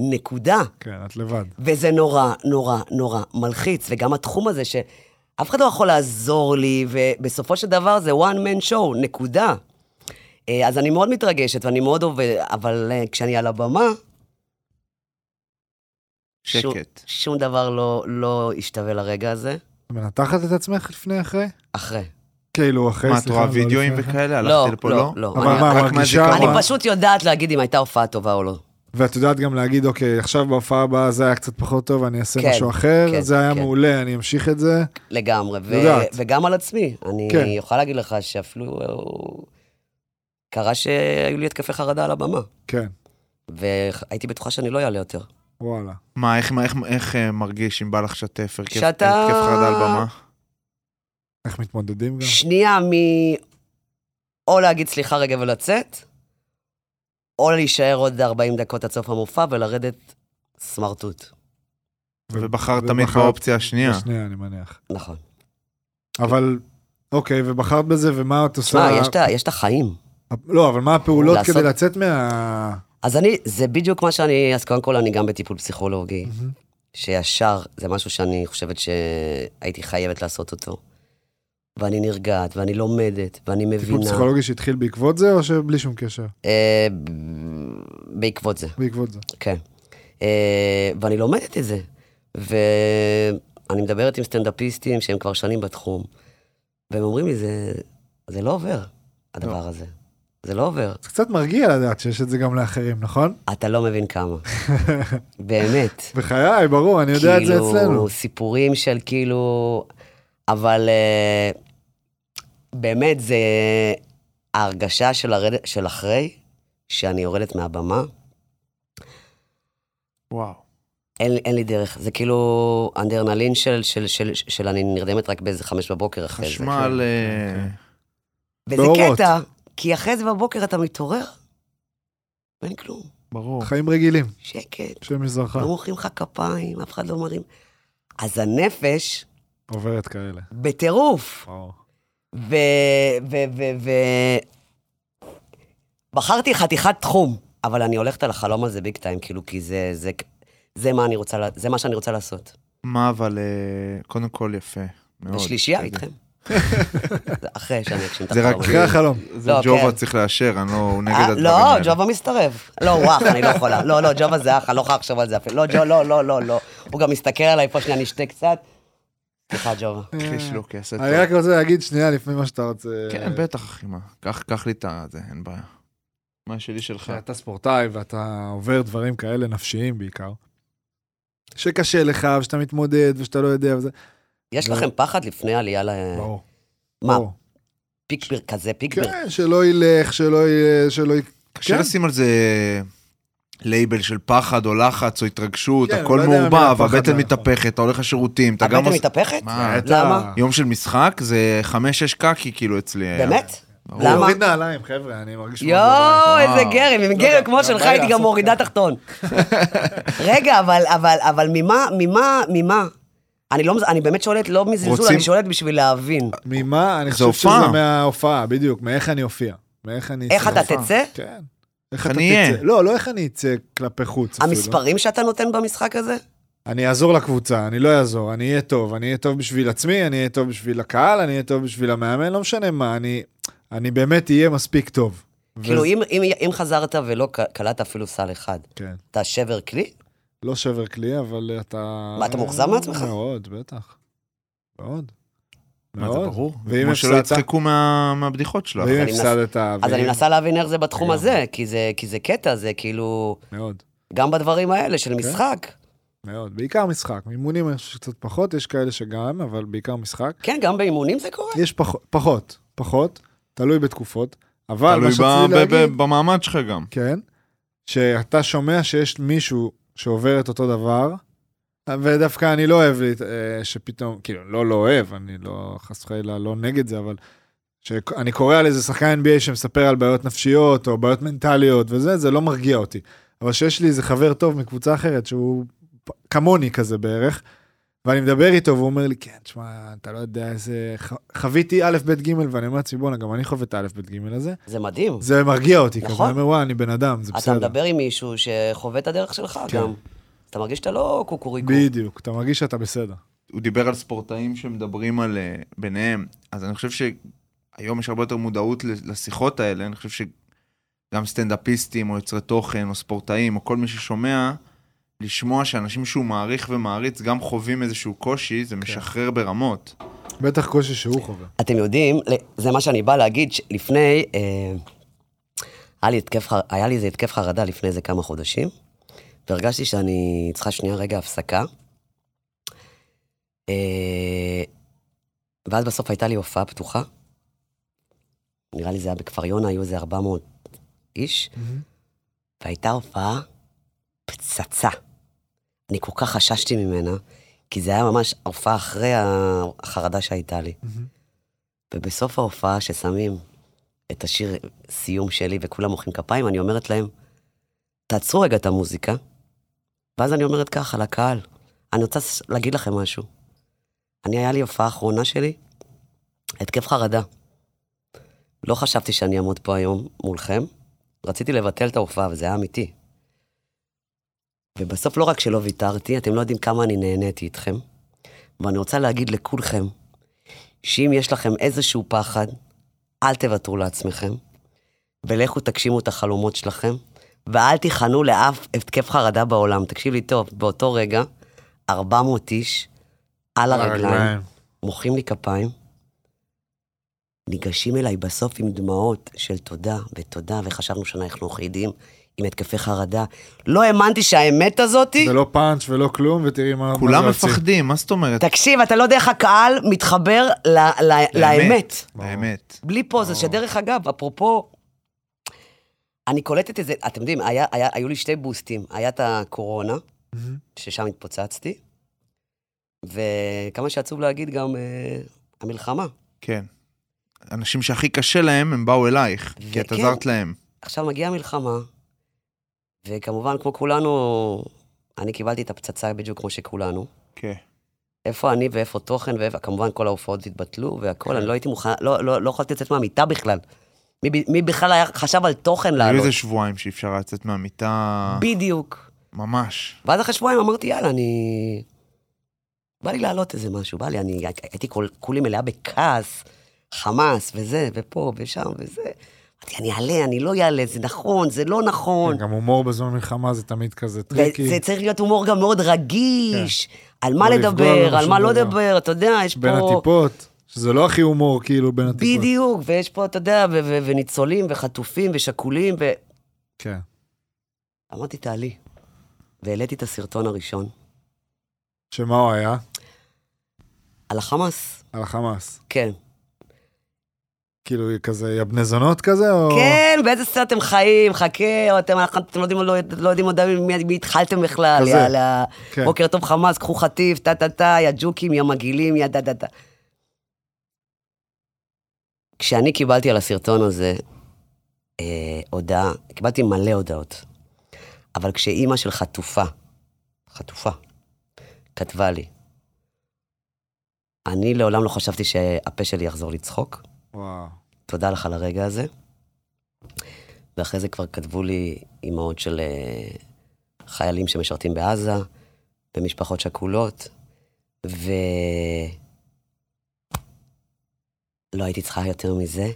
נקודה.
כן, את לבד.
וזה נורא, נורא, נורא מלחיץ, וגם התחום הזה שאף אחד לא יכול לעזור לי, ובסופו של דבר זה one man show, נקודה. אה, אז אני מאוד מתרגשת ואני מאוד עובד, אבל אה, כשאני על הבמה, שום-
אוקיי,
שקט.
שום דבר לא, לא ישתווה לרגע הזה.
מנתחת את עצמך לפני אחרי?
אחרי.
כאילו, אחרי,
מה, את
סליחה,
רואה
לא
וידאוים
לפני אחרי.
וכאלה?
לא,
הלכתי לפה,
לא,
לא?
לא.
אבל
אני-
מה,
רק
מרגישה...
מהזיכרון.
אני
מה-
פשוט יודעת להגיד אם הייתה הופעה טובה או לא.
ואת יודעת גם להגיד, אוקיי, עכשיו בהופעה הבאה זה היה קצת פחות טוב, אני אעשה
כן,
משהו אחר,
כן,
זה היה
כן.
מעולה, אני אמשיך את זה.
לגמרי, ו-
יודעת.
וגם על עצמי. אני
כן.
יכולה להגיד לך שאפילו אה, קרה שהיו לי התקפי חרדה על הבמה,
כן,
והייתי בטוחה שאני לא אעלה יותר.
וואלה.
מה, איך- איך- איך אה, מרגיש אם בא לך לשתף הרכב
שאתה-
הרכב חרדה על במה?
איך מתמודדים גם?
שנייה מ... או להגיד סליחה רגע ולצאת, או להישאר עוד 40 דקות עד סוף המופע ולרדת סמרטוט.
ובחרת תמיד
ובחרת-
באופציה השנייה.
שנייה, אני מניח.
נכון.
אבל אוקיי, ובחרת בזה, ומה את עושה?
תשמע, אה, יש את ה- יש את החיים.
לא, אבל מה הפעולות
לעשות-
כדי לצאת מה...
אז אני, זה בדיוק מה שאני, אז קודם כל אני גם בטיפול פסיכולוגי, שישר, זה משהו שאני חושבת שהייתי חייבת לעשות אותו. ואני נרגעת, ואני לומדת, ואני
טיפול
מבינה.
פסיכולוגי שהתחיל בעקבות זה, או שבלי שום קשר?
אה, בעקבות זה,
בעקבות זה.
כן. אה, ואני לומדת את זה. ואני מדברת עם סטנדאפיסטים שהם כבר שנים בתחום, והם אומרים לי, זה, זה לא עובר, הדבר הזה. זה לא עובר.
זה קצת מרגיע לדעת שיש את זה גם לאחרים, נכון?
אתה לא מבין כמה. באמת.
בחיי, ברור, אני יודע את זה
כאילו-
אצלנו.
סיפורים של כאילו... אבל אה, באמת, זה ההרגשה של, הרד... של אחרי, שאני יורדת מהבמה,
וואו.
אין, אין לי דרך. זה כאילו אנדרנלין של, של, של, של אני נרדמת רק באיזה חמש בבוקר אחרי
חשמל... אה,
זה. וזה
באורות.
קטע, כי אחרי זה בבוקר אתה מתעורר, ואין כלום.
ברור.
חיים רגילים,
שקט,
של מזרחה.
לא מוחאים לך כפיים, אף אחד לא מרים. אז הנפש
עוברת כאלה.
בטירוף. ו... ו... ו... ו... בחרתי חתיכת תחום, אבל אני הולכת על החלום הזה ביג טיים, כאילו, כי זה... זה... זה מה, אני רוצה, לע- זה מה שאני רוצה לעשות.
מה אבל, אה, קודם כל יפה. מאוד.
זה
אתה
שלישייה
יודע.
איתכם. זה אחרי שאני אגשים את
זה רק
החלום.
אחרי החלום.
זה
לא,
ג'ובה
כן.
צריך לאשר, אני לא, הוא נגד
אה,
הדברים
לא,
האלה.
ג'ובה מסתרב. לא, הוא אח, אני לא יכולה. לא, לא, ג'ובה זה אח, אני לא יכולה לחשוב על זה אפילו. לא, ג'ו, לא, לא, לא, לא. הוא גם מסתכל עליי פה, שנייה, אני אשתה קצת. סליחה, ג'ובה.
אחי שלוק, יעשה
אני רק
טוב.
רוצה להגיד שנייה לפני מה שאתה רוצה.
כן, בטח, אחי, מה. קח קח לי את הזה, אין בעיה. כן. מה שלי שלך.
אתה ספורטאי ואתה עובר דברים כאלה נפשיים בעיקר. שקשה לך, ושאתה מתמודד, ושאתה לא יודע וזה.
יש
לא.
לכם פחד לפני עלייה ל...
ברור.
מה,
ברור.
פיק בר- כזה פיק בר-
כן, שלא ילך, שלא י- שלא י...
קשה
כן.
לשים על זה לייבל של פחד או לחץ או התרגשות,
כן,
הכל
לא יודע אם המילה
מעורבב,
פחד
הבטן
לא נכון.
מתהפכת, אתה הולך לשירותים, אתה גם...
הבטן
עוש-
מתהפכת?
מה,
אה, אתה-
למה?
יום של משחק זה חמש-שש קקי כאילו אצלי. היה.
באמת?
ברור.
הוא
למה?
הוריד נעליים, חבר'ה, אני מרגיש... מאוד לא בבית.
יואו, איזה
וואו. לא
גרם, עם גרם כמו
גם
שלך
בא לי
הייתי גם
לעשות
מורידה תחתון. רגע, אבל, אבל, אבל ממה, ממה, ממה? אני לא, מז- אני באמת שואלת לא מזלזול,
רוצים-
אני שואלת בשביל להבין.
ממה? אני
זה
חושב שזה
הופעה.
מההופעה, בדיוק, מאיך אני אופיע. מאיך אני...
איך
אצא.
אתה תצא?
כן. איך אתה
אני אהיה.
תצא? לא, לא איך אני אצא כלפי חוץ אפילו.
המספרים שאתה נותן במשחק הזה?
אני אעזור לקבוצה, אני לא אעזור, אני אהיה טוב, אני אהיה טוב בשביל עצמי, אני אהיה טוב בשביל הקהל, אני אהיה טוב בשביל המאמן, לא משנה מה, אני, אני באמת אהיה מספיק טוב.
כאילו,
וזה-
אם- אם אם חזרת ולא ק- קלעת אפילו סל אחד,
כן.
אתה שבר כלי?
לא שבר כלי, אבל אתה...
מה, אתה מאוכזב מעצמך?
מאוד, בטח. מאוד.
מה, זה
מאוד.
ברור.
ואם
כמו שלא
הפסדת,
יצחקו מה- מהבדיחות שלך.
ואם
אני מנס-
הפסדת,
אז
ואם-
אני מנסה להבין איך זה בתחום
היום.
הזה, כי זה- כי זה קטע, זה כאילו,
מאוד,
גם בדברים האלה
כן?
של משחק.
מאוד. בעיקר משחק. מימונים אני חושב שקצת פחות, יש כאלה שגם, אבל בעיקר משחק.
כן, גם באימונים זה קורה.
יש פחות, פחות, פחות, תלוי בתקופות, אבל
תלוי
מה שרציתי
ב- ב-
להגיד...
ב- במעמד שלך גם.
כן, שאתה שומע שיש מישהו שעובר את אותו דבר, ודווקא אני לא אוהב להת- אה, שפתאום, כאילו, לא לא אוהב, אני לא, חס וחלילה, לא נגד זה, אבל שאני קורא על איזה שחקן NBA שמספר על בעיות נפשיות או בעיות מנטליות וזה, זה לא מרגיע אותי. אבל שיש לי איזה חבר טוב מקבוצה אחרת שהוא פ- כמוני כזה בערך, ואני מדבר איתו והוא אומר לי, כן, תשמע, אתה לא יודע איזה... ח- חוויתי א', ב', ג', ואני אומר לעצמי, בואנה, גם אני חווה את הא', ב', ג' הזה.
זה מדהים.
זה מרגיע אותי,
נכון.
כזה, אני אומר, וואי, אני בן אדם, זה
אתה
בסדר.
מדבר עם מישהו שחווה את הדרך שלך
כן.
גם. אתה מרגיש שאתה לא קוקוריקו.
בדיוק, אתה מרגיש שאתה בסדר.
הוא דיבר על ספורטאים שמדברים על אה, ביניהם, אז אני חושב שהיום יש הרבה יותר מודעות ל- לשיחות האלה, אני חושב שגם סטנדאפיסטים או יוצרי תוכן או ספורטאים או כל מי ששומע, לשמוע שאנשים שהוא מעריך ומעריץ גם חווים איזשהו קושי, זה משחרר ברמות.
בטח קושי שהוא חווה.
אתם יודעים, ל- זה מה שאני בא להגיד, לפני... היה לי, התקף, חר- היה לי איזה התקף חרדה לפני איזה כמה חודשים, והרגשתי שאני צריכה שנייה רגע הפסקה. אה, ואז בסוף הייתה לי הופעה פתוחה. נראה לי זה היה בכפר יונה, היו איזה 400 איש, והייתה הופעה פצצה. אני כל כך חששתי ממנה, כי זה היה ממש ההופעה אחרי החרדה שהייתה לי. ובסוף ההופעה ששמים את השיר סיום שלי וכולם מוחאים כפיים, אני אומרת להם, תעצרו רגע את המוזיקה, ואז אני אומרת ככה לקהל, אני רוצה ס- להגיד לכם משהו. אני, היה לי הופעה אחרונה שלי, התקף חרדה. לא חשבתי שאני אעמוד פה היום מולכם. רציתי לבטל את ההופעה, וזה היה אמיתי. ובסוף לא רק שלא ויתרתי, אתם לא יודעים כמה אני נהניתי איתכם. ואני רוצה להגיד לכולכם, שאם יש לכם איזשהו פחד, אל תוותרו לעצמכם, ולכו תגשימו את החלומות שלכם, ואל תיכנעו לאף התקף חרדה בעולם. תקשיב לי טוב, באותו רגע, 400 איש על הרגליים, מוחאים לי כפיים, ניגשים אליי בסוף עם דמעות של תודה ותודה, וחשבנו שאנחנו יחידים עם התקפי חרדה. לא האמנתי שהאמת הזאתי...
זה לא פאנץ' ולא כלום, ותראי מה... מה
כולם
זה יוציא.
מפחדים, מה זאת אומרת?
תקשיב, אתה לא יודע איך הקהל מתחבר ל- ל- לאמת.
האמת.
בלי פוזה, שדרך אגב, אפרופו, אני קולטת את זה, אתם יודעים, היה, היה, היו לי שתי בוסטים. היה את הקורונה,
מהמם.
ששם התפוצצתי, וכמה שעצוב להגיד, גם אה, המלחמה.
כן. אנשים שהכי קשה להם, הם באו אלייך, כי את
וכן.
עזרת להם.
עכשיו מגיעה המלחמה, וכמובן, כמו כולנו, אני קיבלתי את הפצצה בדיוק כמו שכולנו.
כן.
איפה אני ואיפה תוכן, וכמובן כל ההופעות התבטלו
כן.
והכל, אני לא הייתי מוכן, לא, לא, לא יכולתי לצאת מהמיטה בכלל. מי, ב- מי בכלל היה, חשב על תוכן
היו
לעלות?
איזה שבועיים שאי אפשר היה לצאת מהמיטה,
בדיוק.
ממש.
ואז אחרי שבועיים אמרתי, יאללה, אני... בא לי להעלות איזה משהו, בא לי, אני הייתי כל, כולי מלאה בכעס, חמאס, וזה, ופה, ושם, וזה. אמרתי, אני אעלה, אני לא אעלה, זה נכון, זה לא נכון.
גם הומור בזמן מלחמה זה תמיד כזה טריקי.
וזה צריך להיות הומור גם מאוד רגיש, על מה
לא לפגוע
לדבר,
לא
על מה
בשום
לא
דבר.
לדבר, אתה יודע, יש
בין
פה...
הטיפות, שזה לא הכי הומור כאילו בין הטיפות.
בדיוק, ויש פה, אתה יודע, ו- ו- וניצולים, וחטופים, ושכולים, ו...
כן.
אמרתי, תעלי. והעליתי את הסרטון הראשון,
שמה הוא היה?
על החמאס,
על החמאס.
כן.
כאילו כזה, יא בני זונות כזה? או...
כן, באיזה סרט אתם חיים, חכה, או אתם, אתם לא יודעים, לא, לא יודעים עוד מי, מי התחלתם בכלל,
כזה.
יאללה,
כן.
בוקר טוב חמאס, קחו חטיף, טה טה טה, יא ג'וקים, יא מגעילים, יא דה דה דה. כשאני קיבלתי על הסרטון הזה אה, הודעה, קיבלתי מלא הודעות, אבל כשאימא של חטופה, חטופה, כתבה לי, אני לעולם לא חשבתי שהפה שלי יחזור לצחוק,
וואו.
תודה לך על הרגע הזה. ואחרי זה כבר כתבו לי אימהות של אה, חיילים שמשרתים בעזה, ומשפחות שכולות, ו... לא הייתי צריכה יותר מזה.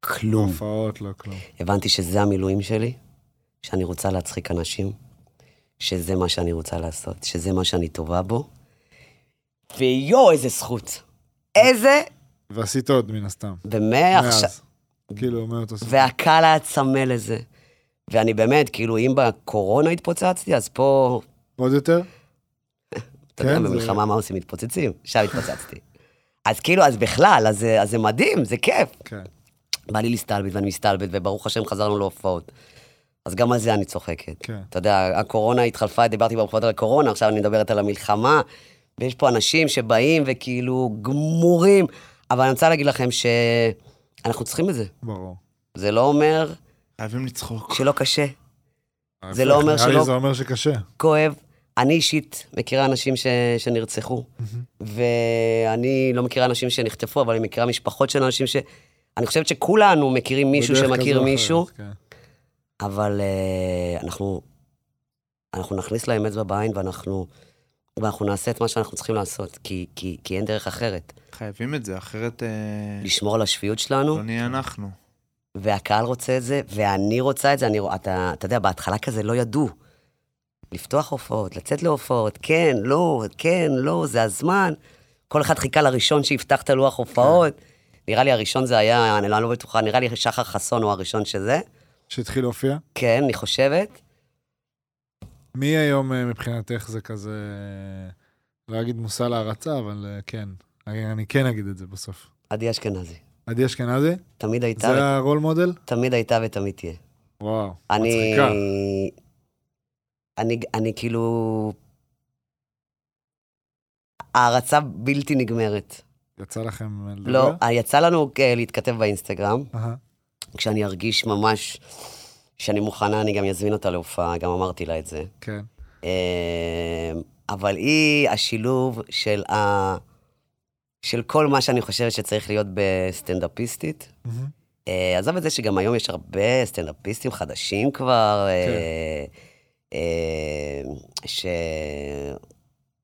כלום.
הופעות, לא כלום.
הבנתי שזה המילואים שלי, שאני רוצה להצחיק אנשים, שזה מה שאני רוצה לעשות, שזה מה שאני טובה בו. ויואו, איזה זכות. איזה,
ועשית עוד מן הסתם.
ומעכשיו...
מאז. כאילו, מאותו סוף.
והקהל היה צמא לזה. ואני באמת, כאילו, אם בקורונה התפוצצתי, אז פה,
עוד יותר?
אתה יודע,
כן, זה-
במלחמה מה עושים? מתפוצצים, שם התפוצצתי. אז כאילו, אז בכלל, אז, זה- אז זה מדהים, זה כיף.
כן.
בא לי להסתלבט ואני מסתלבט, וברוך השם חזרנו להופעות. אז גם על זה אני צוחקת.
כן.
אתה יודע, הקורונה התחלפה, דיברתי בהופעות על הקורונה, עכשיו אני מדברת על המלחמה, ויש פה אנשים שבאים וכאילו גמורים, אבל אני רוצה להגיד לכם שאנחנו צריכים את זה.
ברור.
זה לא אומר
חייבים לצחוק.
שלא קשה. זה לא אומר
נראה
שלא-
לי זה אומר שקשה.
כואב. אני אישית מכירה אנשים ש... שנרצחו, ואני לא מכירה אנשים שנחטפו, אבל אני מכירה משפחות של אנשים ש... אני חושבת שכולנו מכירים מישהו
בדרך כזו
שמכיר
או אחרת,
מישהו,
כן.
אבל uh, אנחנו, אנחנו נכניס להם אצבע בעין ואנחנו, ואנחנו נעשה את מה שאנחנו צריכים לעשות, כי, כי, כי אין דרך אחרת.
כן.
חייבים את זה, אחרת אה,
לשמור על השפיות שלנו,
לא נהיה אנחנו.
והקהל רוצה את זה, ואני רוצה את זה. אני, רוא- אתה, אתה יודע, בהתחלה כזה לא ידעו. לפתוח הופעות, לצאת להופעות, כן, לא, כן, לא, זה הזמן. כל אחד חיכה לראשון שיפתח את הלוח הופעות.
כן.
נראה לי הראשון זה היה, אני לא, אני לא בטוחה, נראה לי שחר חסון הוא הראשון שזה.
שהתחיל להופיע?
כן, אני חושבת.
מי היום אה, מבחינתך זה כזה, אה, לא אגיד מושא להערצה, אבל אה, כן. אני אני כן אגיד את זה בסוף.
עדי אשכנזי.
עדי אשכנזי?
תמיד
זה
הייתה,
הרול מודל?
תמיד הייתה ותמיד תהיה.
וואו,
אני,
מצחיקה.
אני, אני כאילו... הערצה בלתי נגמרת.
יצא לכם לדבר?
לא, יצא לנו אה, להתכתב באינסטגרם.
אהה.
כשאני ארגיש ממש שאני מוכנה, אני גם אזמין אותה להופעה, גם אמרתי לה את זה.
כן.
אה, אבל היא השילוב של ה... של כל מה שאני חושבת שצריך להיות בסטנדאפיסטית.
מהמם.
אה, עזוב את זה שגם היום יש הרבה סטנדאפיסטים חדשים כבר, אה, אה,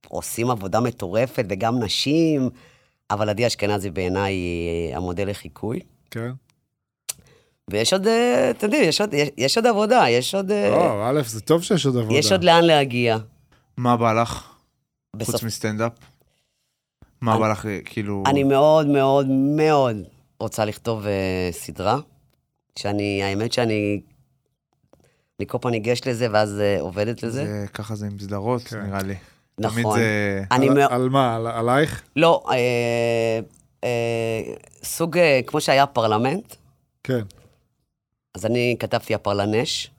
שעושים עבודה מטורפת, וגם נשים, אבל עדי אשכנזי בעיניי היא המודל לחיקוי.
כן.
ויש עוד, אה, אתם יודעים, יש עוד- יש- יש עוד עבודה, יש עוד... אה,
לא, א', זה טוב שיש עוד עבודה.
יש עוד לאן להגיע.
מה בא לך,
בסוף,
חוץ מסטנדאפ? מה
אני-
בא לך, אה, כאילו...
אני מאוד מאוד מאוד רוצה לכתוב אה, סדרה, שאני, האמת שאני, אני כל פעם ניגשת לזה ואז אה, עובדת לזה.
זה- ככה זה עם סדרות,
כן.
נראה לי. תמיד אה,
נכון.
זה...
אני
על-
מאוד...
על מה? על- עלייך?
לא, אה, אה, סוג, אה, כמו שהיה פרלמנט,
כן.
אז אני כתבתי הפרלנש,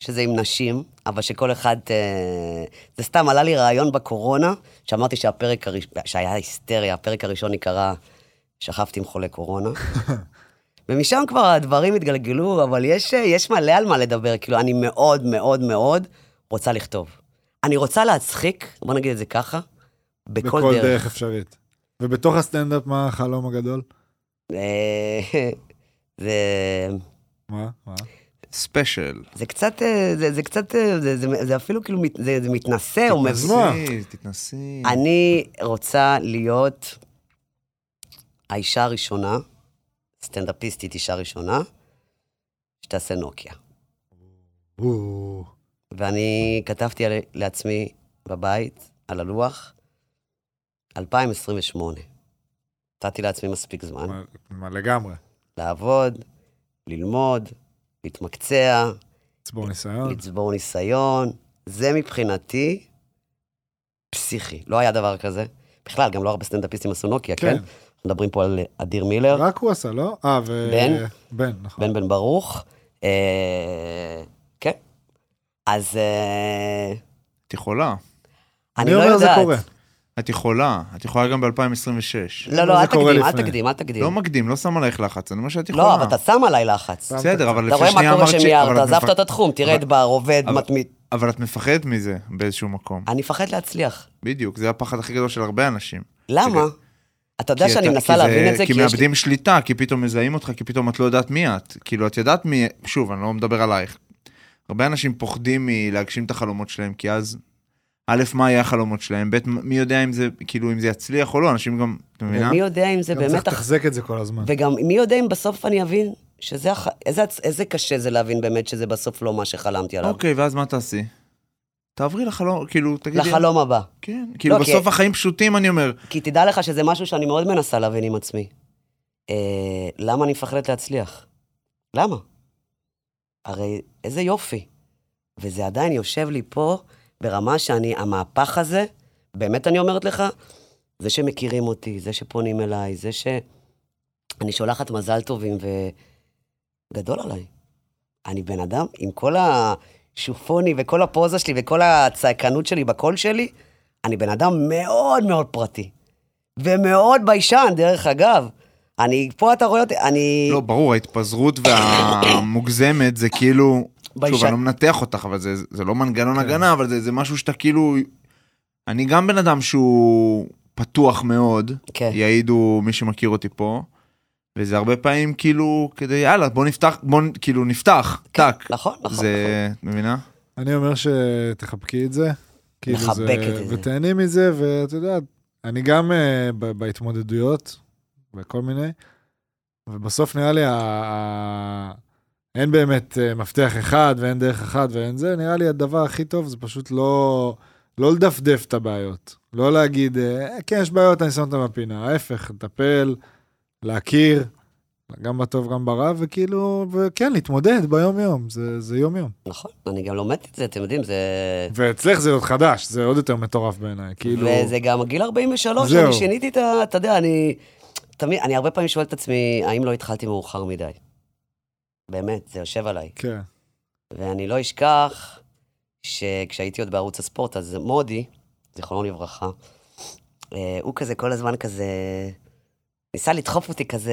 שזה עם נשים, אבל שכל אחד... אה, זה סתם, עלה לי רעיון בקורונה, שאמרתי שהפרק הראשון, שהיה היסטריה, הפרק הראשון נקרא שכבתי עם חולה קורונה. ומשם כבר הדברים התגלגלו, אבל יש, אה, יש מלא על מה לדבר, כאילו, אני מאוד מאוד מאוד רוצה לכתוב. אני רוצה להצחיק, בוא נגיד את זה ככה, בכל,
בכל
דרך.
דרך אפשרית. ובתוך הסטנדאפ, מה החלום הגדול?
אה, זה...
מה? מה?
ספיישל.
זה קצת, אה, זה, זה קצת, אה, זה, זה, זה אפילו כאילו, מת, זה, זה מתנשא, הוא מבין.
מה?
תתנסי, תתנסי.
אני רוצה להיות האישה הראשונה, סטנדאפיסטית אישה ראשונה, שתעשה נוקיה.
או,
ואני כתבתי על- לעצמי בבית, על הלוח, 2028. נתתי לעצמי מספיק זמן
מה- מה לגמרי.
לעבוד, ללמוד, להתמקצע,
צבור ניסיון.
לצבור ניסיון. זה מבחינתי פסיכי. לא היה דבר כזה. בכלל, גם לא הרבה סטנדאפיסטים עשו נוקיה, כן?
כן.
אנחנו מדברים פה על אה, אדיר מילר,
רק הוא עשה, לא? אה, ו...
בן?
בן, נכון.
בן בן ברוך. אה, כן. אז אה,
את יכולה.
אני לא יודעת.
זה קורה.
את יכולה. את יכולה גם ב-2026.
לא,
אומר,
לא,
זה
אל
קורה
תקדים, אל
לפני.
תקדים, אל תקדים.
לא מקדים, לא שם עלייך לחץ, אני אומר שאת יכולה.
לא, אבל אתה שם עליי לחץ.
בסדר, אבל
אתה
לפני
רואה
שנייה אמרת
מה קורה
ש- אבל
שמיהרת,
את
עזבת
מפח-
את התחום, תראה את בר, עובד,
אבל-
מתמיד.
אבל את מפחדת מזה באיזשהו מקום.
אני מפחד להצליח.
בדיוק, זה הפחד הכי גדול של הרבה אנשים.
למה? אתה יודע
כי
שאני
אתה- כי
מנסה
זה-
להבין את זה,
כי
יש לי-
מאבדים שליטה, כי פתאום מזהים אותך, כי פתאום את לא יודעת מי את. כאילו, את יודעת מי... שוב, אני לא מדבר עלייך. הרבה אנשים פוחדים מלהגשים את החלומות שלהם, כי אז, א', מה יהיה החלומות שלהם, ב', מי יודע אם זה, כאילו, אם זה יצליח או לא, אנשים גם, את מבינה?
ומי יודע אם זה
גם צריך
באמת אח-
לתחזק את זה כל הזמן.
וגם מי יודע אם בסוף אני אבין שזה, הח... איזה, הצ- איזה קשה זה להבין באמת שזה בסוף לא מה שחלמתי עליו.
אוקיי, ואז מה תעשי? תעברי לחלום, כאילו, תגידי...
לחלום הבא.
כן, כאילו,
לא, כי-
בסוף החיים פשוטים, אני אומר.
כי תדע לך שזה משהו שאני מאוד מנסה להבין עם עצמי. אה, למה אני מפחדת להצליח? למה? הרי איזה יופי. וזה עדיין יושב לי פה ברמה שאני, המהפך הזה, באמת אני אומרת לך, זה שמכירים אותי, זה שפונים אליי, זה ש... אני שולחת מזל טובים, וגדול עליי. אני בן אדם, עם כל השופוני וכל הפוזה שלי וכל הצעקנות שלי בקול שלי, אני בן אדם מאוד מאוד פרטי. ומאוד ביישן, דרך אגב. אני, פה אתה רואה אותי, אני...
לא, ברור, ההתפזרות והמוגזמת זה כאילו... שוב,
ביישן.
אני לא מנתח אותך, אבל זה, זה לא
כן.
מנגנון הגנה, אבל זה, זה משהו שאתה כאילו... אני גם בן אדם שהוא פתוח מאוד,
כן.
יעידו מי שמכיר אותי פה, וזה הרבה פעמים כאילו, כדי יאללה, בוא נפתח, בוא נ- כאילו נפתח, טאק.
נכון, נכון, נכון.
זה, את מבינה?
אני אומר שתחבקי את זה. כאילו
מחבקת
זה-
את זה.
ותהני מזה, ואת יודעת, אני גם אה, ב- בהתמודדויות, וכל מיני, ובסוף נראה לי, ה- ה- אין באמת אה, מפתח אחד, ואין דרך אחת, ואין זה, נראה לי הדבר הכי טוב זה פשוט לא לא לדפדף את הבעיות. לא להגיד, אה, כן, יש בעיות, אני שם אותן בפינה. ההפך, לטפל, להכיר. גם בטוב, גם ברע, וכאילו, וכן, להתמודד ביום-יום, זה, זה יום-יום.
נכון, אני גם לומדת את זה, אתם יודעים, זה...
ואצלך זה עוד חדש, זה עוד יותר מטורף בעיניי, כאילו...
וזה גם גיל 43,
זהו.
אני שיניתי את ה... אתה יודע, אני... תמיד, אני הרבה פעמים שואל את עצמי, האם לא התחלתי מאוחר מדי? באמת, זה יושב עליי.
כן.
ואני לא אשכח שכשהייתי עוד בערוץ הספורט, אז מודי, זיכרונו לברכה, אה, הוא כזה כל הזמן כזה, ניסה לדחוף אותי כזה,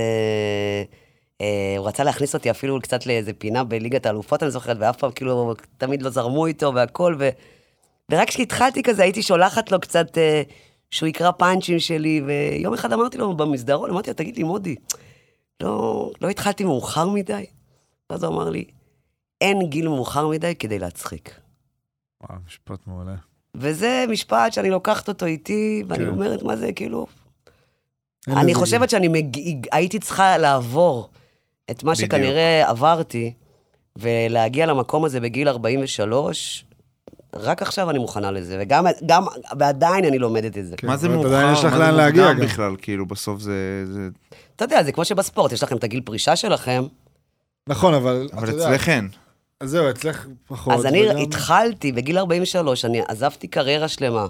אה, הוא רצה להכניס אותי אפילו קצת לאיזה פינה בליגת האלופות, אני זוכרת, ואף פעם כאילו תמיד לא זרמו איתו והכל, ו... ורק כשהתחלתי כזה הייתי שולחת לו קצת אה, שהוא יקרא פאנצ'ים שלי, ויום אחד אמרתי לו במסדרון, אמרתי לו, תגיד לי, מודי, לא, לא התחלתי מאוחר מדי? ואז הוא אמר לי, אין גיל מאוחר מדי כדי להצחיק.
וואו, משפט מעולה.
וזה משפט שאני לוקחת אותו איתי, ואני
כן.
אומרת, מה זה, כאילו...
אין
אני
לזה
חושבת שאני מג... הייתי צריכה לעבור את מה
בדיוק.
שכנראה עברתי, ולהגיע למקום הזה בגיל 43, רק עכשיו אני מוכנה לזה, וגם, גם, ועדיין אני לומדת את זה.
כן.
מה זה
אבל
מאוחר?
עדיין יש לך
מה
לאן
זה
להגיע
מוקדם
גם.
בכלל, כאילו, בסוף זה... זה-
אתה יודע, זה כמו שבספורט, יש לכם את הגיל פרישה שלהם,
גיל. נכון, אבל...
אבל
אתה יודע,
אצלך אין.
אז זהו, אצלך פחות.
אז אני
וגם-
התחלתי בגיל 43, אני עזבתי קריירה שלמה.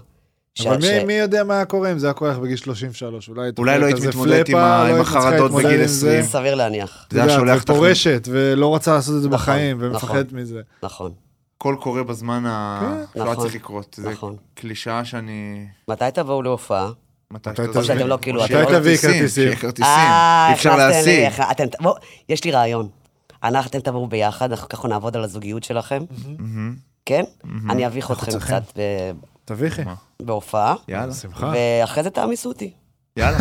ש-
אבל מי-
ש-
מי יודע מה היה קורה אם זה היה קורה לך בגיל 33? אולי...
אולי
הייתה
לא היית
כזה
מתמודדת עם
פלאפה,
ה-
לא
עם
היית צריכה
החרדות
להתמודד
בגיל
עם זה.
20.
סביר להניח,
זה
אתה
היה
יודע,
שולח את החיים.
ופורשת, ולא רוצה לעשות את זה
נכון,
בחיים,
נכון.
ומפחדת מזה.
נכון.
הכל קורה בזמן ה...
כן.
לא היה
נכון,
צריך לקרות. זה
נכון.
קלישאה שאני...
מתי תבואו להופעה?
מתי
מתי
שאתה-
תביא-
שאתם לא כאילו-
או שיהיה
מתי
תביא כרטיסים?
שיהיה כרטיסים,
אה,
אי אפשר
הכנסתם לי,
להשיג.
הכ- אתם- בוא, יש לי רעיון. אנחנו אתם תבואו ביחד, אנחנו ככה נעבוד על הזוגיות שלכם,
מהמם.
כן? אני אביך אתכם
צריכים.
קצת ב-
תביכי.
מה?
בהופעה,
כן. יאללה,
שמחה.
ואחרי זה תעמיסו אותי.
יאללה.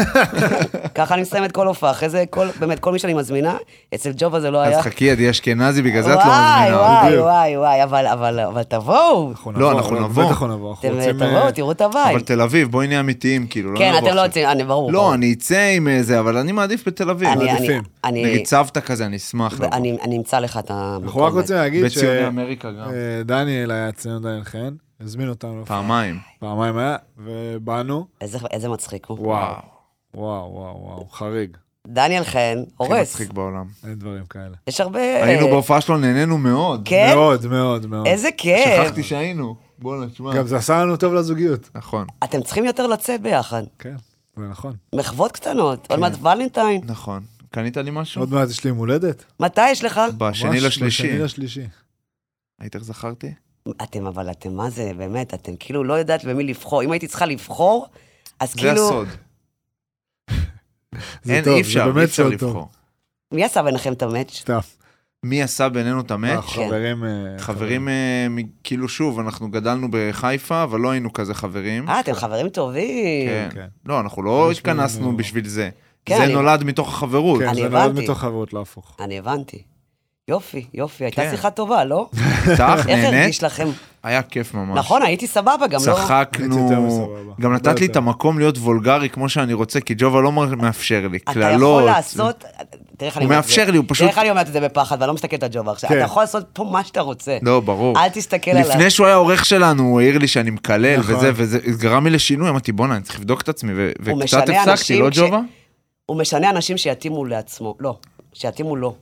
ככה אני מסיים את כל הופעה, אחרי זה כל, באמת, כל מי שאני מזמינה, אצל ג'ובה זה לא היה.
אז חכי, עדי אשכנזי, בגלל זה את לא
וואי,
מזמינה.
וואי,
בדיוק.
וואי, וואי, אבל, אבל, אבל תבואו.
לא, אנחנו נבוא.
בטח נבוא. אנחנו
אתם לא
רוצים,
תבואו,
אה,
תראו את הבית.
אבל תל אביב, בואי נהיה אמיתיים, כאילו, לא
כן,
נבוא
אתם לא
עכשיו.
רוצים, אני, ברור. ברור.
לא, אני אצא עם אה, זה, אבל אני מעדיף בתל אביב.
אני- אני-
מעדיפים.
אני-
נגיד לא. סבתא כזה, אני אשמח. לבוא.
אני אני אמצא לך את המקום.
אנחנו רק רוצים להגיד ש...
בציוני אמריקה גם.
אה, דניאל היה אצלנו, דניאל חן, הזמין אותנו להופעה.
פעמיים.
פעמיים היה, ובאנו.
איזה- איזה מצחיק הוא.
וואו. וואו, וואו, וואו, חריג.
דניאל חן,
הכי
הורס. אה.
מצחיק בעולם.
אין דברים כאלה.
יש הרבה...
היינו בהופעה שלו, נהנינו מאוד.
כן?
מאוד, מאוד, מאוד.
איזה כיף.
שכחתי שהיינו. בואנה, תשמע.
גם זה עשה לנו טוב לזוגיות.
נכון.
אתם צריכים יותר לצאת ביחד.
כן, זה נכון.
מחוות קטנות.
כן.
עוד מעט ולנטיין.
נכון. קנית לי משהו?
עוד מעט יש לי יום הולדת.
מתי יש לך?
בשני
ממש
לשלישי.
בשני לשלישי.
היית איך זכרתי?
אתם, אבל אתם, מה זה, באמת, אתם כאילו לא יודעת במי לבחור. אם הייתי צריכה לבחור, אז
זה
כאילו...
הסוד.
זה
אין,
טוב,
אי
זה
אפשר,
באמת
אי אפשר
סוד טוב.
לבחור.
מי עשה ביניכם את המאץ'?
סתיו.
מי עשה בינינו את המאץ'?
חברים... אה,
חברים, אה, מ- כאילו שוב, אנחנו גדלנו בחיפה, אבל לא היינו כזה חברים.
אה, אתם חברים טובים.
כן.
כן.
לא, אנחנו לא
יש לנו-
התכנסנו בשביל זה.
כן,
זה
אני-
נולד מתוך החברות.
אה, כן,
אני
זה נולד
הבנתי.
מתוך חברות, לא הפוך.
אני הבנתי. יופי, יופי, הייתה
כן.
שיחה טובה, לא?
צח,
איך
נהנית?
הרגיש לכם?
היה כיף ממש.
נכון, הייתי סבבה, גם לא...
הייתי יותר
צחקנו,
מסבבה.
גם
לא
נתת לי
יותר.
את המקום להיות וולגרי כמו שאני רוצה, כי ג'ובה לא מ- מאפשר לי.
אתה יכול
קללות.
לעשות, תראה איך אני
הוא
אומרת את זה.
מאפשר לי, הוא פשוט-
תראה איך אני אומרת את זה בפחד, ואני לא מסתכלת על ג'ובה עכשיו.
כן.
אתה יכול לעשות פה מה שאתה רוצה.
לא, ברור.
אל תסתכל עליו.
לפני שהוא היה עורך שלנו, הוא העיר לי שאני מקלל
נכון.
וזה, וזה גרם לי לשינוי, אמרתי, בואנה, אני צריך לבדוק את עצמי, ו-
הוא
וקצת
משנה
הפסקתי,
אנשים
לא
כש-
ג'ובה?
הוא משנה אנשים שיתאימו לעצמו. לא, שיתאימו לו.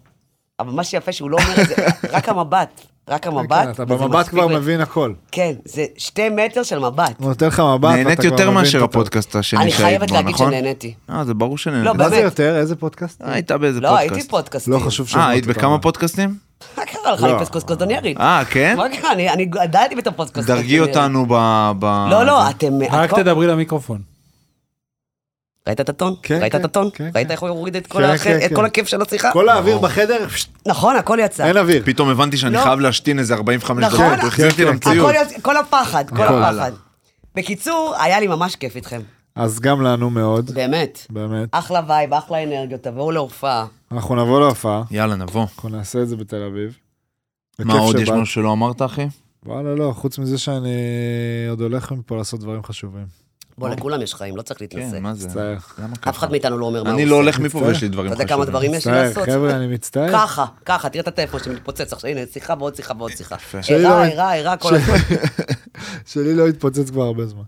אבל מה שיפה שהוא לא אומר את זה, רק המבט. רק המבט.
כן, אתה
וזה
במבט
מספיק
כבר
ל-
מבין הכל.
כן, זה שתי מטר של מבט.
הוא נותן לך מבט, ואתה כבר
נהניתי יותר
מבין את
מאשר
הטוב.
הפודקאסט השני
אני
שהיית
חייבת
בו,
להגיד
נכון?
שנהניתי.
אה, זה ברור
לא,
שנהניתי.
מה זה
באמת.
יותר? איזה פודקאסט?
אה, הייתה באיזה
לא,
פודקאסט.
הייתי פודקאסטים.
לא חשוב לא.
אה,
שמות
היית
אותם.
בכמה פודקאסטים?
מה קרה לך? אני פסקוסקוטוניירית.
אה, כן?
מה קרה? אני אני גדלתי בתוך פודקאסט.
דרגי אותנו ב... ב-
לא,
זה.
לא, אתם...
רק
הכל-
תדברי למיקרופון.
ראית את הטון?
כן,
ראית
כן,
את הטון?
כן,
ראית
כן.
איך הוא הוריד את כל
כן,
הח-
כן,
את
כן.
כל הכיף של השיחה?
כל האוויר בחדר, פשט,
נכון, הכל יצא.
אין אוויר.
פתאום הבנתי שאני
לא.
חייב להשתין איזה 45
נכון.
דקות, הוא החזיר אותי
כן, כן.
למציאות.
הכל יצא, כל הפחד, כל
הכל.
הפחד. בקיצור, היה לי ממש כיף איתכם,
אז גם לנו מאוד,
באמת.
באמת.
אחלה וייב, אחלה אנרגיות, תבואו להופעה.
אנחנו נבוא להופעה,
יאללה, נבוא.
אנחנו נעשה את זה בתל אביב.
מה
בכיף
עוד יש
שבאת.
לנו שלא אמרת, אחי?
וואלה, לא, חוץ מזה שאני עוד הולך מפה לעשות דברים חשובים.
בוא,
נכון.
לכולם יש חיים, לא צריך להתנשא.
כן, מה זה?
מצטער.
למה ככה?
אף אחד מאיתנו לא אומר מה הוא עושה.
אני לא הולך מפה
מצטער.
ויש לי דברים
אתה
חשובים.
יודע כמה דברים יש לי
מצטער,
לעשות?
חבר'ה, אני מצטער.
ככה, ככה, תראה את הטלפון שמתפוצץ עכשיו, הנה, שיחה ועוד שיחה ועוד שיחה. אה,
שלי לא-
אירע, אירע, אירע, כל הזמן.
שלי לא התפוצץ כבר הרבה זמן.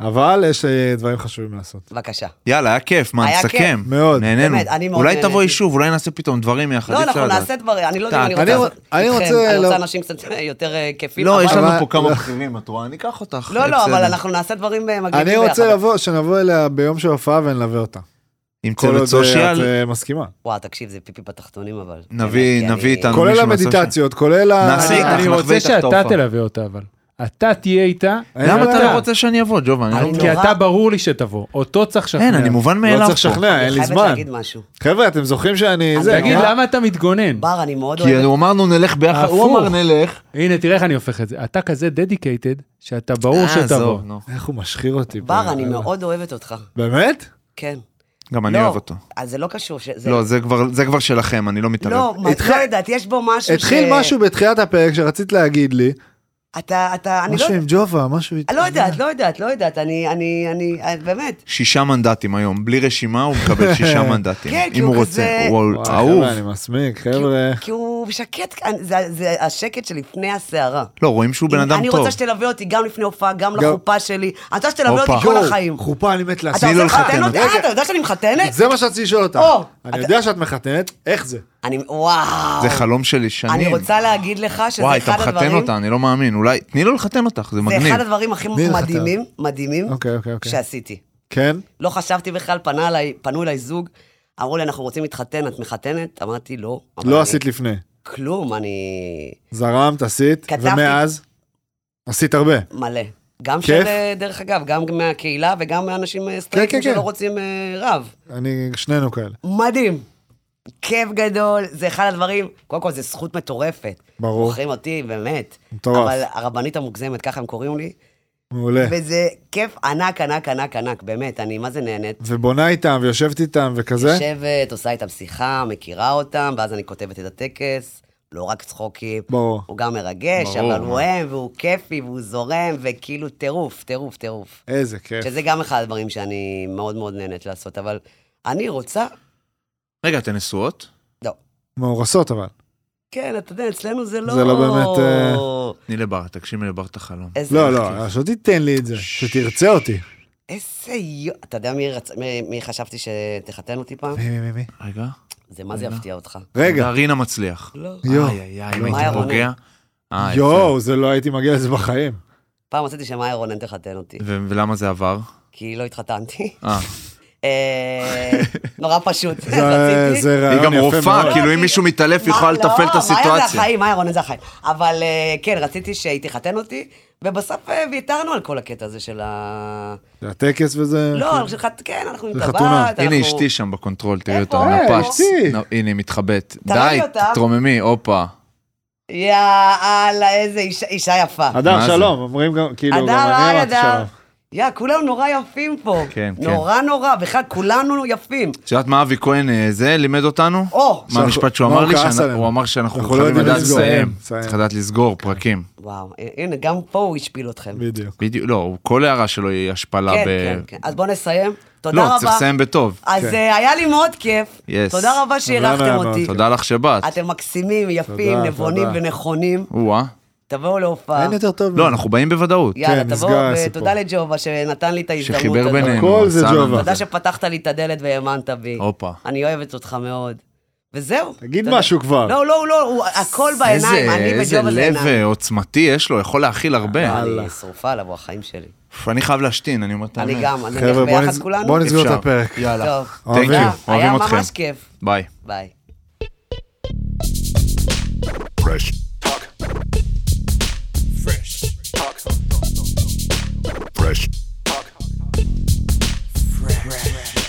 אבל יש אה, דברים חשובים לעשות.
בבקשה.
יאללה, היה כיף, מה,
היה
נסכם?
כיף.
מאוד.
נהנינו.
באמת, אני מאוד
אולי
נהניתי.
תבואי שוב, אולי נעשה פתאום דברים יחד.
לא,
אי אפשר
אנחנו
לדעת.
נעשה דברים, אני לא יודעת, אני
טאק.
רוצה
אני-
לעשות
אני
איתכם,
רוצה-
אני
לא.
רוצה אנשים קצת יותר אה, כיפים.
לא,
אבל-
יש לנו
אבל-
פה כמה
לא.
בכירים, את רואה? אני אקח אותך.
לא, לא, אבל
בסדר.
אנחנו נעשה דברים אה, מגניבים
אני
ביחד.
רוצה לבוא, שנבוא אליה ביום של הופעה ונלווה אותה.
עם
כל עוד
צוות
אה, את
סושיאל,
אה, מסכימה.
וואו, תקשיב, זה פיפי בתחתונים, אבל.
נביא-
באמת, כי
נביא
אני-
איתנו. מישהו
כולל
מהסושיאל.
המדיטציות, כולל ה...
נעשה
אני
איתך,
אני
נחווה
רוצה
איתך את ההופעה.
שאתה תלווה אותה, אבל. אתה תהיה איתה,
למה אתה
ואתה-
לא רוצה שאני אבוא, ג'ובה? אני לא-
אני-
כי
נורא.
אתה ברור לי שתבוא, אותו צריך לשכנע.
אין, אני מובן מאליו פה.
לא צריך לשכנע, אין לי
אני
זמן.
חייבת להגיד משהו.
חבר'ה, אתם זוכרים שאני...
אני
זה,
תגיד,
אה?
למה אתה מתגונן?
בר, אני מאוד
כי
אוהבת.
הוא אמרנו נלך
אה,
ביחד, הוא
הפוך.
אמר נלך.
הנה, תראה איך אני הופך את זה. אתה כזה דדיקייטד, שאתה ברור
אה,
שתבוא.
עזוב, נו.
איך הוא משחיר אותי.
בר,
ב-
אני מאוד אוהבת אותך.
באמת?
כן.
גם אה, אני
לא,
אוהב אותו.
אז זה לא קשור. ש- זה-
לא, זה כבר- זה כבר שלכם, אני לא מתערב.
לא, מה-
התחיל-
לא יודעת, יש בו משהו ש...
התחיל משהו בתחילת הפרק שרצית להגיד לי,
אתה, אתה, אני לא
משהו עם
יודעת.
ג'ובה, משהו...
אני לא יודעת, לא יודעת, לא יודעת, אני, אני, אני, אני- באמת.
שישה מנדטים היום, בלי רשימה הוא מקבל שישה מנדטים.
כן, כי
אם
הוא
הוא
כזה-
רוצה, הוא
וואי,
אהוב.
חבר'ה, אני מסמיק, חבר'ה.
כי הוא שקט, כאן, זה, זה השקט שלפני הסערה.
לא, רואים שהוא בן אדם
אני
טוב.
רוצה שתלווה אותי גם לפני הופעה, גם
גם-
לחופה שלי. אני רוצה שתלווה
הופה.
אותי כל
גו,
החיים.
חופה, אני מת
אתה
להסמיק.
רוצה
לא
לחתן
לחתן
אותי?
רגע.
אה, אתה יודע שאני מחתנת?
זה מה שרציתי לשאול אותך.
או, אתה-
אני יודע שאת מחתנת, איך זה?
אני, וואו.
זה חלום שלי שנים.
אני רוצה להגיד לך שזה
וואי, אתה
אחד
מחתן
הדברים,
אותה, אני לא מאמין. אולי, תני לו לחתן אותך, זה
זה
מגניב.
אחד הדברים הכי
מי לחתן?
מדהימים, מדהימים,
אוקיי, אוקיי, אוקיי.
שעשיתי.
כן?
לא חשבתי בכלל, פנה אליי, פנו אליי זוג, אמרו לי, אנחנו רוצים להתחתן, את מחתנת? אמרתי, לא. אבל
לא
אני-
עשית לפני.
כלום, אני
זרמת, עשית,
כתבתי.
ומאז? עשית הרבה.
מלא. גם
כיף?
של, אה, דרך אגב, גם מהקהילה וגם מאנשים אה, סטרייטים
כן, כן.
שלא רוצים אה, רב.
אני, שנינו כאלה.
מדהים. כיף גדול, זה אחד הדברים, קודם כל זו זכות מטורפת.
ברור.
בוחרים אותי, באמת.
מטורף. כן.
אבל הרבנית המוגזמת, ככה הם קוראים לי,
מעולה.
וזה כיף ענק, ענק, ענק, ענק, באמת, אני מה זה נהנית.
ובונה איתם, ויושבת איתם, וכזה?
יושבת, עושה איתם שיחה, מכירה אותם, ואז אני כותבת את הטקס, לא רק צחוקים.
ברור.
הוא גם מרגש,
ברור,
אבל הוא אוהב, והוא כיפי, והוא זורם, וכאילו טירוף, טירוף, טירוף.
איזה כיף.
שזה גם אחד הדברים שאני מאוד מאוד נהנית לעשות, אבל אני רוצה...
רגע, אתן נשואות?
לא.
מאורסות אבל.
כן, אתה יודע, אצלנו זה לא...
זה לא באמת, אה,
תני לבר, תגשימי לבר את החלום.
איזה
לא,
כיף.
לא, שלא תיתן לי את זה, שתרצה אותי.
איזה יו... אתה יודע מי, רצ... מי, מי חשבתי שתחתן אותי פעם?
מי, מי, מי, מי?
רינה.
זה מה זה יפתיע אותך.
רגע,
רגע. רינה מצליח.
אה, לא.
אה. יואו.
איי, איי, איי, אם
מה
הייתי
היה
פוגע. אה, יפה.
יואו, זה לא הייתי מגיע לזה בחיים.
פעם רציתי שמאיה רונן תחתן אותי,
אה.
ו- ולמה זה עבר?
כי לא התחתנתי.
אה,
אה, נורא פשוט,
זה- אה,
רציתי.
זה
היא
רעיון
גם
יפה מאוד.
רופאה, כאילו אם מישהו מתעלף, היא
מה-
יכולה לתפעל את
לא, מאיה זה
הסיטואציה.
החיים, מאיה רונן זה החיים. אבל אה, כן, רציתי שהיא תחתן אותי, ובסוף אה, ויתרנו על כל הקטע הזה של ה...
זה הטקס וזה...
לא, אנחנו שלך, כן, אנחנו עם
אוקיי. זה
טבעת,
חתונה.
אנחנו...
הנה אשתי שם בקונטרול, תראי
איפה?
אותה,
אה,
נפץ.
אשתי.
נו, הנה, היא מתחבאת.
תראה
די,
לי אותה.
תתרוממי, הופה.
יאללה, איזה אישה- אישה יפה.
הדר
מה זה?
שלום, אומרים גם, כאילו, גם
הדר,
אני
היי
אמרתי
הדר.
שלום.
יא, כולם נורא יפים פה.
כן, כן.
נורא נורא, בכלל כולנו יפים.
את יודעת מה אבי כהן אה, זה לימד אותנו?
או!
מה המשפט שהוא
מה
אמר
הוא
לי?
כעס
שאנחנו-
עלינו?
הוא אמר שאנחנו
אנחנו לא
חייבים
יודעים
לדעת
לסגור.
לסיים.
לסיים.
צריך לדעת לסגור פרקים.
וואו, הנה, גם פה הוא השפיל אתכם.
בדיוק.
בדיוק, לא, הוא- כל הערה שלו היא השפלה
כן,
ב...
כן, כן. אז בואו נסיים. תודה
לא,
רבה.
צריך לסיים בטוב.
אז
כן.
אה, היה לי מאוד כיף.
Yes.
תודה רבה שאירחתם
היה מאוד
אותי.
כיף.
תודה לך שבאת.
אתם מקסימים, יפים,
תודה,
נבונים
תודה.
ונכונים.
או-אה.
תבואו להופעה.
אין יותר טוב.
לא,
מזה.
אנחנו באים בוודאות.
יאללה,
כן,
תבואו,
נסגר הסיפור.
ותודה לג'ובה שנתן לי את ההזדמנות הזאת.
שחיבר בינינו.
הכל זה
סלאם.
ג'ובה.
תודה שפתחת לי את הדלת והאמנת בי.
הופה.
אני אוהבת אותך מאוד. וזהו.
תגיד
תודה.
משהו כבר.
לא, לא, לא, הוא- הכל בעיניים,
איזה-
אני
איזה
וג'ובה זה
לב
עיניים.
אה, עוצמתי יש לו, יכול להכיל הרבה.
אה.
אני שרופה עליו, הוא החיים שלי.
פ, אני חייב להשתין, אני אומר את האמת.
אני גם, אז נלך
חבר'ה, בוא
ביחד
נס-
כולנו.
בוא נסגור
אפשר.
את הפרק.
יאללה.
טוב.
Thank
אוהבים.
תודה,
you, אוהבים
היה
אתכם.
ממש כיף.
ביי.
ביי.
Fresh talk. Fresh talk. Fresh talk. Fresh.